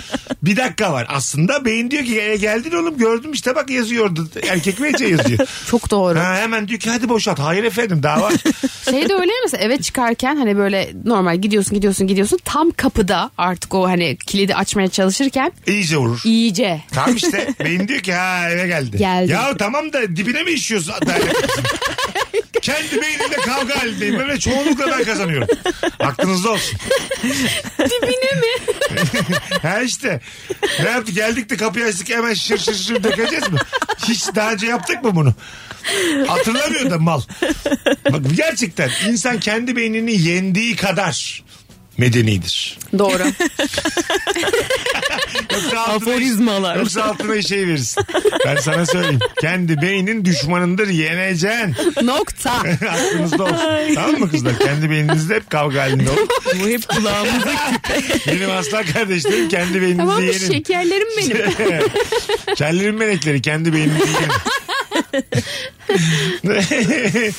Speaker 2: Bir dakika var. Aslında beyin diyor ki e, geldin oğlum gördüm işte bak yazıyordu. Erkek mi Ece yazıyor.
Speaker 4: Çok doğru.
Speaker 2: Ha, hemen diyor ki hadi boşalt. Hayır efendim daha var.
Speaker 4: Şey de öyle ya mesela eve çıkarken hani böyle normal gidiyorsun gidiyorsun gidiyorsun tam kapıda artık o hani kilidi açmaya çalışırken
Speaker 2: İyice vurur.
Speaker 4: iyice
Speaker 2: Tamam işte beyin diyor ki ha eve geldi.
Speaker 4: Geldi.
Speaker 2: Ya tamam da dibine mi işiyorsun? Daire kapısının? Kendi beynimde kavga halindeyim. Böyle çoğunlukla ben kazanıyorum. Aklınızda olsun.
Speaker 4: dibine mi?
Speaker 2: Ha işte. Ne yaptık? Geldik de kapıyı açtık hemen şır şır şır dökeceğiz mi? Hiç daha önce yaptık mı bunu? Hatırlamıyor da mal. Bak gerçekten insan kendi beynini yendiği kadar medenidir.
Speaker 4: Doğru.
Speaker 2: Yoksa altına-
Speaker 3: Aforizmalar.
Speaker 2: Yoksa altına şey verirsin. Ben sana söyleyeyim. Kendi beynin düşmanındır yeneceksin.
Speaker 4: Nokta.
Speaker 2: Aklınızda olsun. tamam mı kızlar? Kendi beyninizde hep kavga halinde olun.
Speaker 3: Bu hep kulağımıza
Speaker 2: Benim aslan kardeşlerim kendi beyninizi
Speaker 4: Tamam mı
Speaker 2: yenin.
Speaker 4: şekerlerim benim.
Speaker 2: Kellerin melekleri kendi beynini yiyin.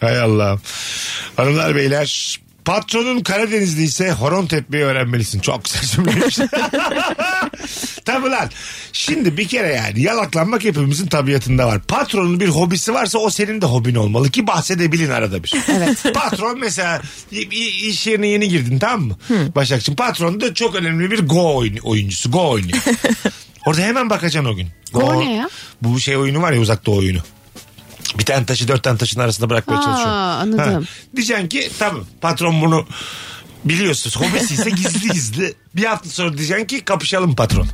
Speaker 2: Hay Allah. Hanımlar beyler Patronun Karadenizli ise horon tepmeyi öğrenmelisin. Çok güzel cümleymiş. Tabii lan. Şimdi bir kere yani yalaklanmak hepimizin tabiatında var. Patronun bir hobisi varsa o senin de hobin olmalı ki bahsedebilin arada bir. Evet. Patron mesela i- i- iş yerine yeni girdin tamam mı? Başakçığım patron da çok önemli bir go oyun- oyuncusu. Go oynuyor. Orada hemen bakacaksın o gün.
Speaker 4: Go ne ya?
Speaker 2: Bu şey oyunu var ya uzak doğu oyunu. Bir tane taşı dört tane taşın arasında bırakmaya
Speaker 4: Aa,
Speaker 2: çalışıyor.
Speaker 4: anladım.
Speaker 2: Diyeceksin ki tamam patron bunu biliyorsunuz. Hobisi ise gizli gizli. Bir hafta sonra diyeceksin ki kapışalım patron.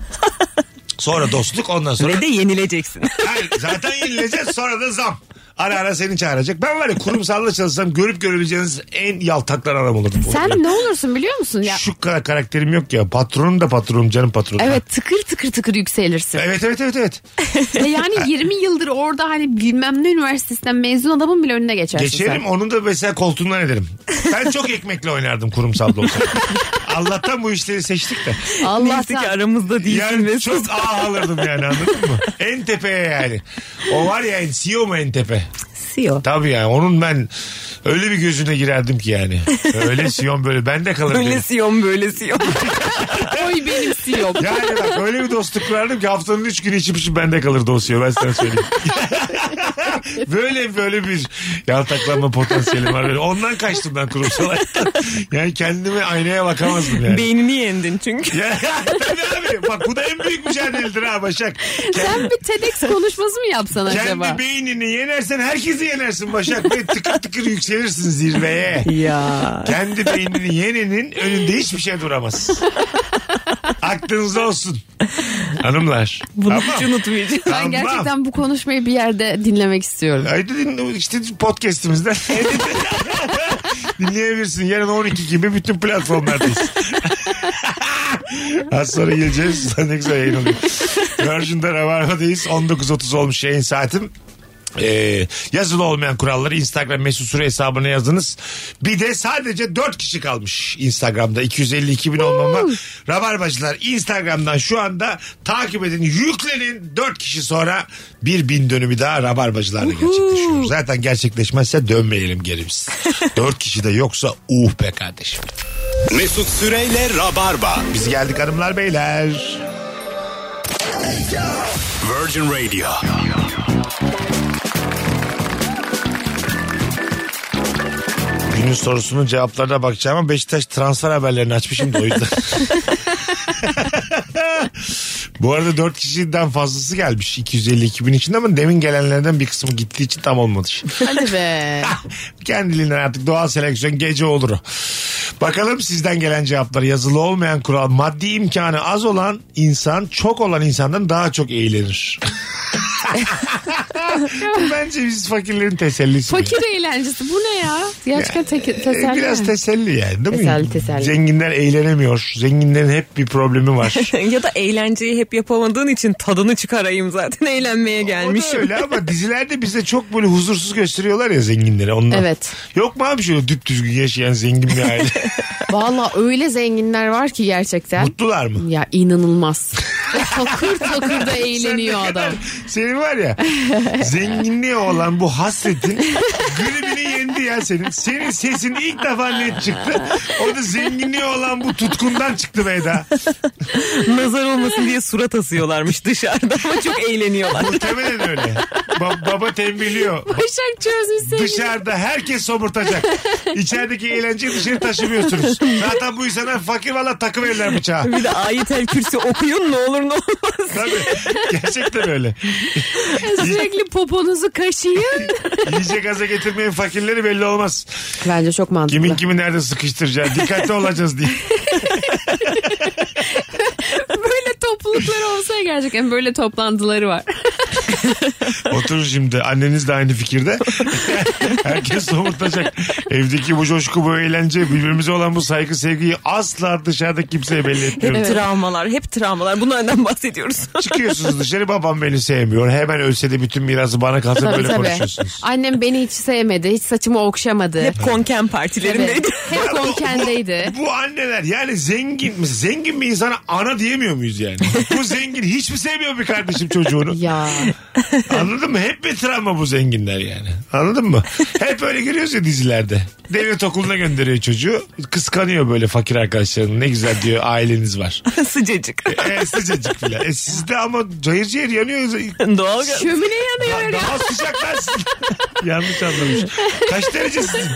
Speaker 2: Sonra dostluk ondan sonra.
Speaker 3: ve de yenileceksin.
Speaker 2: Hayır, zaten yenileceğiz sonra da zam. Ara ara seni çağıracak. Ben var ya kurumsalda çalışsam görüp görebileceğiniz en yaltaklar adam olurdum.
Speaker 4: Sen ne olursun biliyor musun? Ya,
Speaker 2: Şu kadar karakterim yok ya. Patronum da patronum canım patronum.
Speaker 4: evet tıkır tıkır tıkır yükselirsin.
Speaker 2: Evet evet evet evet.
Speaker 4: Ve yani 20 yıldır orada hani bilmem ne üniversitesinden mezun adamın bile önüne geçersin
Speaker 2: Geçerim onu da mesela koltuğundan ederim. Ben çok ekmekle oynardım kurumsalda olsam. Allah'tan bu işleri seçtik de.
Speaker 4: sen.
Speaker 3: Neyse ki
Speaker 4: Allah'tan.
Speaker 3: aramızda değilsin
Speaker 2: Yani
Speaker 3: Mesut.
Speaker 2: çok ağ alırdım yani anladın mı? En tepeye yani. O var ya en CEO mu en tepe?
Speaker 3: Siyo.
Speaker 2: Tabii yani onun ben öyle bir gözüne girerdim ki yani. Öyle CEO böyle ben de kalırım.
Speaker 3: Öyle
Speaker 2: dedim.
Speaker 3: siyon böyle siyon.
Speaker 4: Oy benim CEO'm.
Speaker 2: Yani bak öyle bir dostluk kurardım ki haftanın üç günü içip içip bende kalırdı o CEO ben sana söyleyeyim. böyle böyle bir yaltaklanma potansiyelim var. Böyle Ondan kaçtım ben kurumsal hayattan. Yani kendime aynaya bakamazdım yani.
Speaker 3: Beynini yendin çünkü.
Speaker 2: Ya, tabii abi. Bak bu da en büyük mücadeledir ha Başak.
Speaker 4: Sen bir TEDx konuşması mı yapsan acaba?
Speaker 2: Kendi beynini yenersen herkesi yenersin Başak. Ve tıkır tıkır yükselirsin zirveye.
Speaker 3: Ya.
Speaker 2: Kendi beynini yenenin önünde hiçbir şey duramaz. Aklınızda olsun. Hanımlar.
Speaker 3: Bunu
Speaker 2: Tamam.
Speaker 3: hiç unutmayacağım.
Speaker 4: Ben gerçekten bu konuşmayı bir yerde dinlemek istiyorum.
Speaker 2: Haydi din, işte podcastimizden. Dinleyebilirsin. Yarın 12 gibi bütün platformlardayız. Az sonra geleceğiz. ne güzel yayın oluyor. Virgin'de Rabarba'dayız. 19.30 olmuş yayın saatim. Ee, yazılı olmayan kuralları Instagram mesut süre hesabına yazınız. Bir de sadece 4 kişi kalmış Instagram'da 252 bin olmama. Rabarbacılar Instagram'dan şu anda takip edin yüklenin 4 kişi sonra bir bin dönümü daha Rabarbacılarla gerçekleşiyor. Zaten gerçekleşmezse dönmeyelim geri biz. 4 kişi de yoksa uh be kardeşim.
Speaker 1: Mesut Süreyle Rabarba.
Speaker 2: Biz geldik hanımlar beyler.
Speaker 1: Virgin Radio.
Speaker 2: Günün sorusunun cevaplarına bakacağım ama Beşiktaş transfer haberlerini açmışım da o yüzden. Bu arada 4 kişiden fazlası gelmiş 252 bin içinde ama demin gelenlerden bir kısmı gittiği için tam olmadı.
Speaker 4: Hadi be.
Speaker 2: Kendiliğinden artık doğal seleksiyon gece olur. o. Bakalım sizden gelen cevaplar yazılı olmayan kural maddi imkanı az olan insan çok olan insandan daha çok eğlenir. Bu bence biz fakirlerin tesellisi.
Speaker 4: Fakir eğlencesi bu ne ya? Gerçekten te- teselli.
Speaker 2: Ee, Biraz
Speaker 4: mi?
Speaker 2: teselli yani değil mi?
Speaker 4: Teselli, teselli.
Speaker 2: Zenginler eğlenemiyor. Zenginlerin hep bir problemi var.
Speaker 3: ya da eğlenceyi hep yapamadığın için tadını çıkarayım zaten eğlenmeye
Speaker 2: O da
Speaker 3: gelmişim.
Speaker 2: öyle ama dizilerde bize çok böyle huzursuz gösteriyorlar ya zenginleri ondan.
Speaker 4: Evet.
Speaker 2: Yok mu abi şöyle düpdüzgün yaşayan zengin bir aile?
Speaker 4: Valla öyle zenginler var ki gerçekten.
Speaker 2: Mutlular mı?
Speaker 4: Ya inanılmaz. takır takır da eğleniyor
Speaker 2: Sen ne kadar-
Speaker 4: adam.
Speaker 2: Senin var ya zenginliğe olan bu hasretin gülümünü yendi ya senin. Senin sesin ilk defa net çıktı. O da zenginliğe olan bu tutkundan çıktı Beyda.
Speaker 3: Nazar olmasın diye surat asıyorlarmış dışarıda ama çok eğleniyorlar.
Speaker 2: Muhtemelen öyle. Ba- baba tembihliyor.
Speaker 4: Başak çözmüş sevgili.
Speaker 2: Dışarıda herkes somurtacak. İçerideki eğlenceyi dışarı taşımıyorsunuz. Zaten bu insanlar fakir valla takıverirler bıçağı.
Speaker 3: Bir de ayetel kürsi okuyun ne olur ne olmaz.
Speaker 2: Tabii. Gerçekten öyle.
Speaker 4: Sürekli poponuzu kaşıyın.
Speaker 2: Yiyecek aza getirmeyin fakirleri belli olmaz.
Speaker 4: Bence çok mantıklı.
Speaker 2: Kimin kimi nerede sıkıştıracağı. Dikkatli olacağız diye.
Speaker 4: Böyle topluluklar olsa ya gerçekten böyle toplantıları var.
Speaker 2: Oturun şimdi. Anneniz de aynı fikirde. Herkes somurtacak. Evdeki bu coşku bu eğlence birbirimize olan bu saygı sevgiyi asla dışarıda kimseye belli etmiyoruz.
Speaker 3: Travmalar hep travmalar bunlardan bahsediyoruz.
Speaker 2: Çıkıyorsunuz dışarı babam beni sevmiyor. Hemen ölse de bütün mirası bana kalsa
Speaker 4: Tabii
Speaker 2: böyle
Speaker 4: tabii.
Speaker 2: konuşuyorsunuz.
Speaker 4: Annem beni hiç sevmedi. Hiç saçımı okşamadı.
Speaker 3: hep konken partilerindeydi.
Speaker 4: Evet. Hep
Speaker 2: Bu- bu-
Speaker 4: konkendeydi.
Speaker 2: Bu, anneler yani zengin zengin bir insana ana diyemiyor muyuz yani? bu zengin hiç mi sevmiyor bir kardeşim çocuğunu?
Speaker 4: Ya
Speaker 2: Anladın mı? Hep bir travma bu zenginler yani. Anladın mı? Hep öyle görüyoruz ya dizilerde. Devlet okuluna gönderiyor çocuğu. Kıskanıyor böyle fakir arkadaşlarını. Ne güzel diyor aileniz var.
Speaker 3: Sıcacık.
Speaker 2: E, sıcacık filan. E, sizde ama cayır cayır yanıyor.
Speaker 3: Doğal gaz.
Speaker 4: şömine yanıyor ya.
Speaker 2: Daha sıcak lan sizin. Yanlış anlamış. Kaç derece sizin?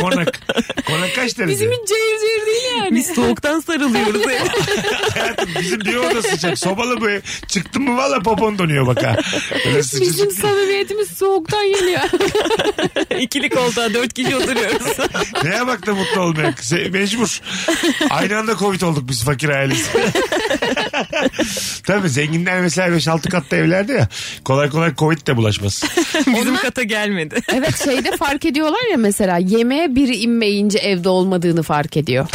Speaker 2: Konak. Konak kaç derece?
Speaker 4: Bizim hiç cayır cayır değil yani.
Speaker 3: Biz soğuktan sarılıyoruz.
Speaker 2: Hayatım bizim bir oda sıcak. Sobalı bu ev. Çıktın mı valla popon donuyor bak ha. Öyle sıcacık.
Speaker 4: Bizim samimiyetimiz soğuktan geliyor.
Speaker 3: İkili koltuğa dört kişi oturuyoruz.
Speaker 2: Neye bak da mutlu olmayak. Se- Mecbur. Aynı anda Covid olduk biz fakir ailesi. Tabii zenginler mesela 5-6 katlı evlerde ya. Kolay kolay Covid de bulaşmaz.
Speaker 3: Bizim kata gelmedi.
Speaker 4: Evet şeyde fark ediyorlar ya mesela yemeğe biri inmeyince evde olmadığını fark ediyor.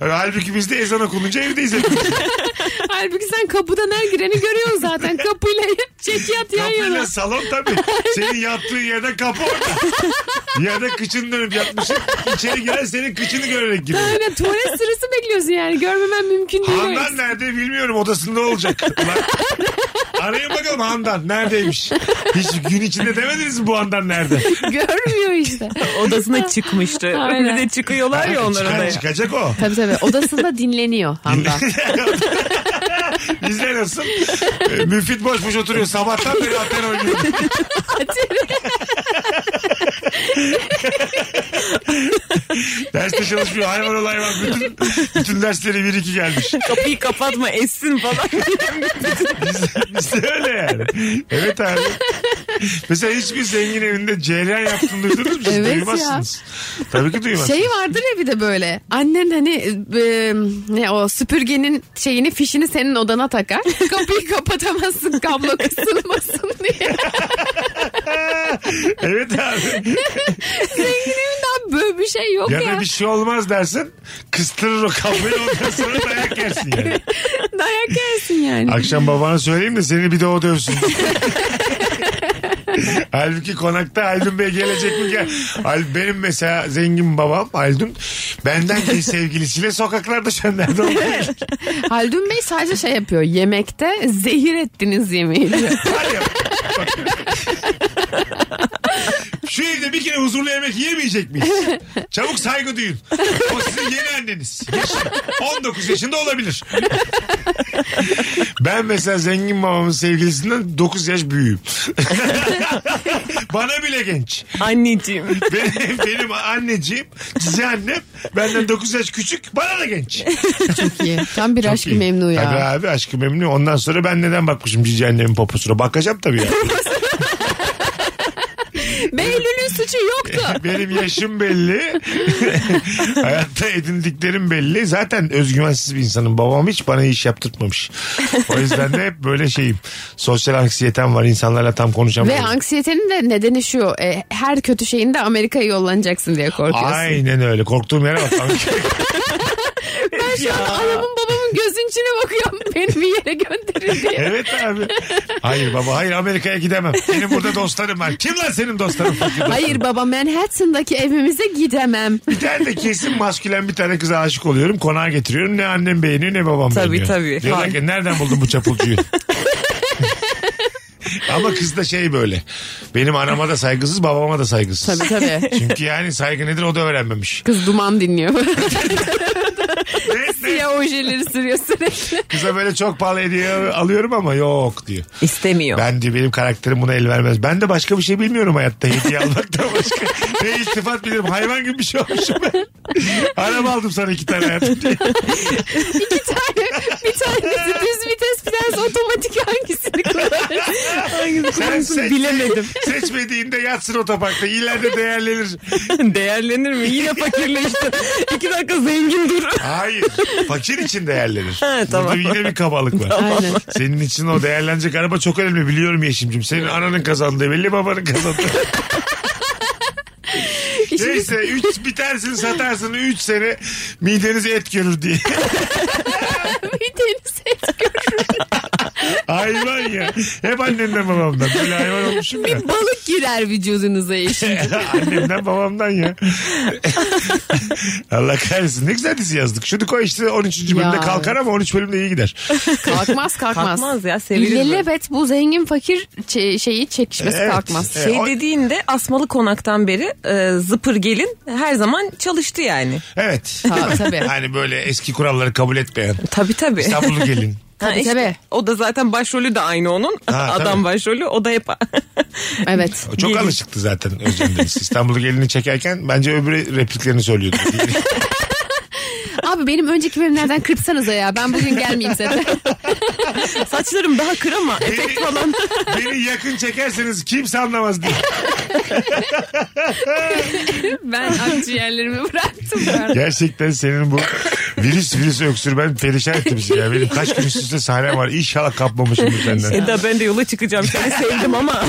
Speaker 2: Halbuki biz de ezan okununca evdeyiz hepimiz.
Speaker 4: Halbuki sen kapıdan her gireni görüyorsun zaten kapıyla çekyat yan yana.
Speaker 2: Kapıyla salon tabii. Senin yattığın yerden kapı orada. ya da kıçını dönüp yatmışsın. İçeri giren senin kıçını görerek giriyor.
Speaker 4: Aynen tuvalet sırası bekliyorsun yani görmemen mümkün değil.
Speaker 2: Handan nerede bilmiyorum odasında olacak. Ulan. Arayın bakalım Handan neredeymiş? Hiç gün içinde demediniz mi bu Handan nerede?
Speaker 4: Görmüyor işte.
Speaker 3: Odasına çıkmıştı.
Speaker 4: Aynen.
Speaker 3: Bir de çıkıyorlar ya onlar
Speaker 2: Çıkar-
Speaker 3: odaya.
Speaker 2: çıkacak o.
Speaker 4: Tabii tabii odasında dinleniyor Handan.
Speaker 2: Bizde nasıl? Ee, Müfit boş boş oturuyor. Sabahtan beri aten oynuyor. Derste çalışmıyor. Hayvan ol hayvan. Bütün, bütün dersleri bir iki gelmiş.
Speaker 3: Kapıyı kapatma essin falan.
Speaker 2: Bizde öyle yani. Evet abi. Mesela hiçbir zengin evinde cereyan yaptığını duydunuz mu? Siz
Speaker 4: Evet ya.
Speaker 2: duymazsınız. Tabii ki duymazsınız.
Speaker 4: Şey vardır ya bir de böyle. Annen hani e, ne o süpürgenin şeyini fişini senin odana takar. Kapıyı kapatamazsın kablo kısılmasın diye.
Speaker 2: Evet abi.
Speaker 4: Zenginliğinden böyle bir şey yok
Speaker 2: Ya
Speaker 4: ya.
Speaker 2: da bir şey olmaz dersin. Kıstırır o kafayı ondan sonra dayak yersin yani. şey-
Speaker 4: Dayak yersin yani.
Speaker 2: Akşam babana söyleyeyim de seni bir de o dövsün. Halbuki konakta Haldun Bey gelecek mi gel. Hal- Benim mesela zengin babam Haldun benden ki sevgilisiyle sokaklarda şenlerde oluyor.
Speaker 4: Haldun Bey sadece şey yapıyor. Yemekte zehir ettiniz yemeği diyor.
Speaker 2: Var ya, bak. Şu evde bir kere huzurlu yemek yiyemeyecek miyiz? Çabuk saygı duyun. O sizin yeni anneniz. Yaşı 19 yaşında olabilir. Ben mesela zengin babamın sevgilisinden 9 yaş büyüğüm. Bana bile genç.
Speaker 3: Anneciğim.
Speaker 2: Benim, benim anneciğim, cici annem benden 9 yaş küçük, bana da genç.
Speaker 4: Çok iyi. Tam bir
Speaker 2: Çok
Speaker 4: aşk
Speaker 2: iyi.
Speaker 4: memnu ya.
Speaker 2: Tabii abi aşkı memnu. Ondan sonra ben neden bakmışım cici annemin poposuna? Bakacağım tabii ya.
Speaker 4: Behlül'ün suçu yoktu.
Speaker 2: Benim yaşım belli. Hayatta edindiklerim belli. Zaten özgüvensiz bir insanım. Babam hiç bana iş yaptırtmamış. O yüzden de hep böyle şeyim. Sosyal anksiyetem var. İnsanlarla tam
Speaker 4: Ve
Speaker 2: konuşamıyorum.
Speaker 4: anksiyetenin de nedeni şu. e, her kötü şeyinde Amerika'ya yollanacaksın diye korkuyorsun.
Speaker 2: Aynen öyle. Korktuğum yere bak.
Speaker 4: Ben şu an anamın babamın gözünün içine bakıyorum. Beni bir yere gönderin diye.
Speaker 2: evet abi. Hayır baba hayır Amerika'ya gidemem. Benim burada dostlarım var. Kim lan senin dostların? Fakir dostların?
Speaker 4: Hayır baba Manhattan'daki evimize gidemem.
Speaker 2: Bir tane de kesin maskülen bir tane kıza aşık oluyorum. Konağa getiriyorum. Ne annem beğeniyor ne babam
Speaker 3: Tabii,
Speaker 2: beğeniyor.
Speaker 3: tabii.
Speaker 2: Diyorlar ki nereden buldun bu çapulcuyu? Ama kız da şey böyle. Benim anama da saygısız babama da saygısız.
Speaker 4: Tabii tabii.
Speaker 2: Çünkü yani saygı nedir o da öğrenmemiş.
Speaker 4: Kız duman dinliyor.
Speaker 2: Ne, ne?
Speaker 4: Siyah ojeleri sürüyor sürekli.
Speaker 2: Kıza böyle çok pahalı hediye alıyorum ama yok diyor.
Speaker 3: İstemiyor.
Speaker 2: Ben diyor benim karakterim buna el vermez. Ben de başka bir şey bilmiyorum hayatta. Hediye almaktan başka. ne iltifat bilirim. Hayvan gibi bir şey olmuşum ben. Araba aldım sana iki tane hayatım diye.
Speaker 4: İki tane. Bir tanesi düz vites bir tanesi otomatik hangisini kullanır?
Speaker 2: Sen seç-
Speaker 3: Bilemedim.
Speaker 2: Seçmediğinde yatsın otoparkta. İleride değerlenir.
Speaker 3: Değerlenir mi? Yine fakirleştin. İki dakika zengin dur.
Speaker 2: Hayır. Fakir için değerlenir.
Speaker 3: Ha, tamam.
Speaker 2: Burada yine bir kabalık var.
Speaker 4: Aynen.
Speaker 2: Senin için o değerlenecek araba çok önemli biliyorum Yeşim'cim. Senin ananın kazandığı belli babanın kazandığı.
Speaker 4: İşimiz-
Speaker 2: Neyse üç, bir tanesini satarsın 3 sene mideniz et görür diye.
Speaker 4: Bir deniz et görür.
Speaker 2: hayvan ya. Hep annemden babamdan. Böyle hayvan olmuşum ya.
Speaker 4: Bir balık girer vücudunuza eşim.
Speaker 2: Annemden babamdan ya. Allah kahretsin. Ne güzel dizi yazdık. Şunu koy işte 13. bölümde
Speaker 4: Ya,
Speaker 2: kalkar ama 13 bölümde iyi gider.
Speaker 4: Kalkmaz kalkmaz.
Speaker 3: Kalkmaz ya, severiz böyle.
Speaker 4: İlelebet bu zengin fakir çe- şeyi çekişmesi
Speaker 2: Evet.
Speaker 4: kalkmaz.
Speaker 2: Evet.
Speaker 3: Şey
Speaker 2: o-
Speaker 3: dediğinde asmalı konaktan beri e, zıpır gelin her zaman çalıştı yani.
Speaker 2: Evet.
Speaker 4: Ha, tabii.
Speaker 2: Hani böyle eski kuralları kabul etmeyen.
Speaker 3: Tabii tabii.
Speaker 2: İstanbul'u gelin.
Speaker 3: Ha,
Speaker 4: Tabii,
Speaker 3: işte,
Speaker 4: tabii.
Speaker 3: O da zaten başrolü de aynı onun.
Speaker 2: Ha,
Speaker 3: Adam
Speaker 2: tabii.
Speaker 3: başrolü o da hep
Speaker 4: Evet.
Speaker 2: O çok
Speaker 3: Gelin.
Speaker 2: alışıktı zaten Özcan Deniz. İstanbul'u gelini çekerken bence öbürü repliklerini söylüyordu.
Speaker 4: Abi benim önceki bölümlerden kırpsanıza ya. Ben bugün gelmeyeyim zaten.
Speaker 3: saçlarım daha kır ama efekt falan.
Speaker 2: Beni yakın çekerseniz kimse anlamaz diye.
Speaker 4: ben akciğerlerimi bıraktım. bu arada.
Speaker 2: Gerçekten senin bu virüs virüs öksürmen perişan etti bizi ya. Benim kaç gün üst üste sahnem var. İnşallah kapmamışımdır senden.
Speaker 3: Eda ben de yola çıkacağım. Seni sevdim ama.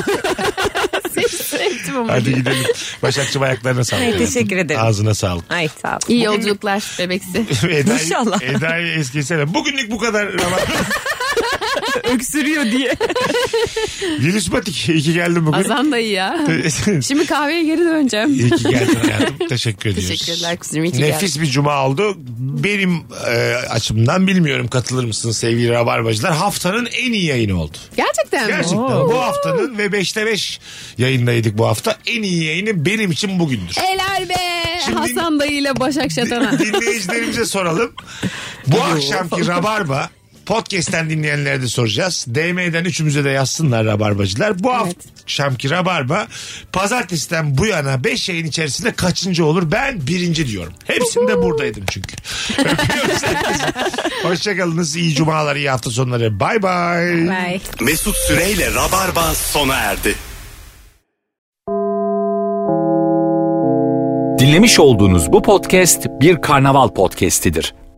Speaker 4: Sevdim ama.
Speaker 2: Hadi gidelim. Başakçı ayaklarına sağlık.
Speaker 3: Ay, teşekkür ederim.
Speaker 2: Ağzına sağlık.
Speaker 3: Ay sağ ol.
Speaker 4: İyi yolculuklar bebeksi.
Speaker 2: Eda'yı,
Speaker 3: İnşallah.
Speaker 2: Eda'yı es geçsene. Bugünlük bu kadar.
Speaker 3: Öksürüyor diye.
Speaker 2: virüs batik. İyi ki geldin bugün.
Speaker 4: Azan da iyi ya. Şimdi kahveye geri döneceğim.
Speaker 2: İyi ki geldin hayatım. Teşekkür ediyoruz.
Speaker 4: Teşekkürler kuzum, iyi ki
Speaker 2: Nefis bir cuma oldu. Benim e, açımdan bilmiyorum katılır mısınız sevgili Rabarbacılar. Haftanın en iyi yayını oldu.
Speaker 4: Gerçekten mi?
Speaker 2: Gerçekten bu haftanın ve 5'te 5 yayındaydık bu hafta. En iyi yayını benim için bugündür.
Speaker 4: Helal be.
Speaker 2: Şimdi-
Speaker 4: Hasan dayı ile Başak Şatan'a.
Speaker 2: Dinleyicilerimize soralım. Bu akşamki Rabarba podcast'ten dinleyenlere de soracağız. DM'den üçümüze de yazsınlar Rabarbacılar. Bu akşamki Rabarba pazartesiden bu yana 5 yayın içerisinde kaçıncı olur? Ben birinci diyorum. Hepsinde buradaydım çünkü. Öpüyoruz herkesi. Hoşçakalınız. İyi cumalar, iyi hafta sonları. Bay bay.
Speaker 4: Bye.
Speaker 1: Mesut Süreyle Rabarba sona erdi.
Speaker 9: Dinlemiş olduğunuz bu podcast bir karnaval podcastidir.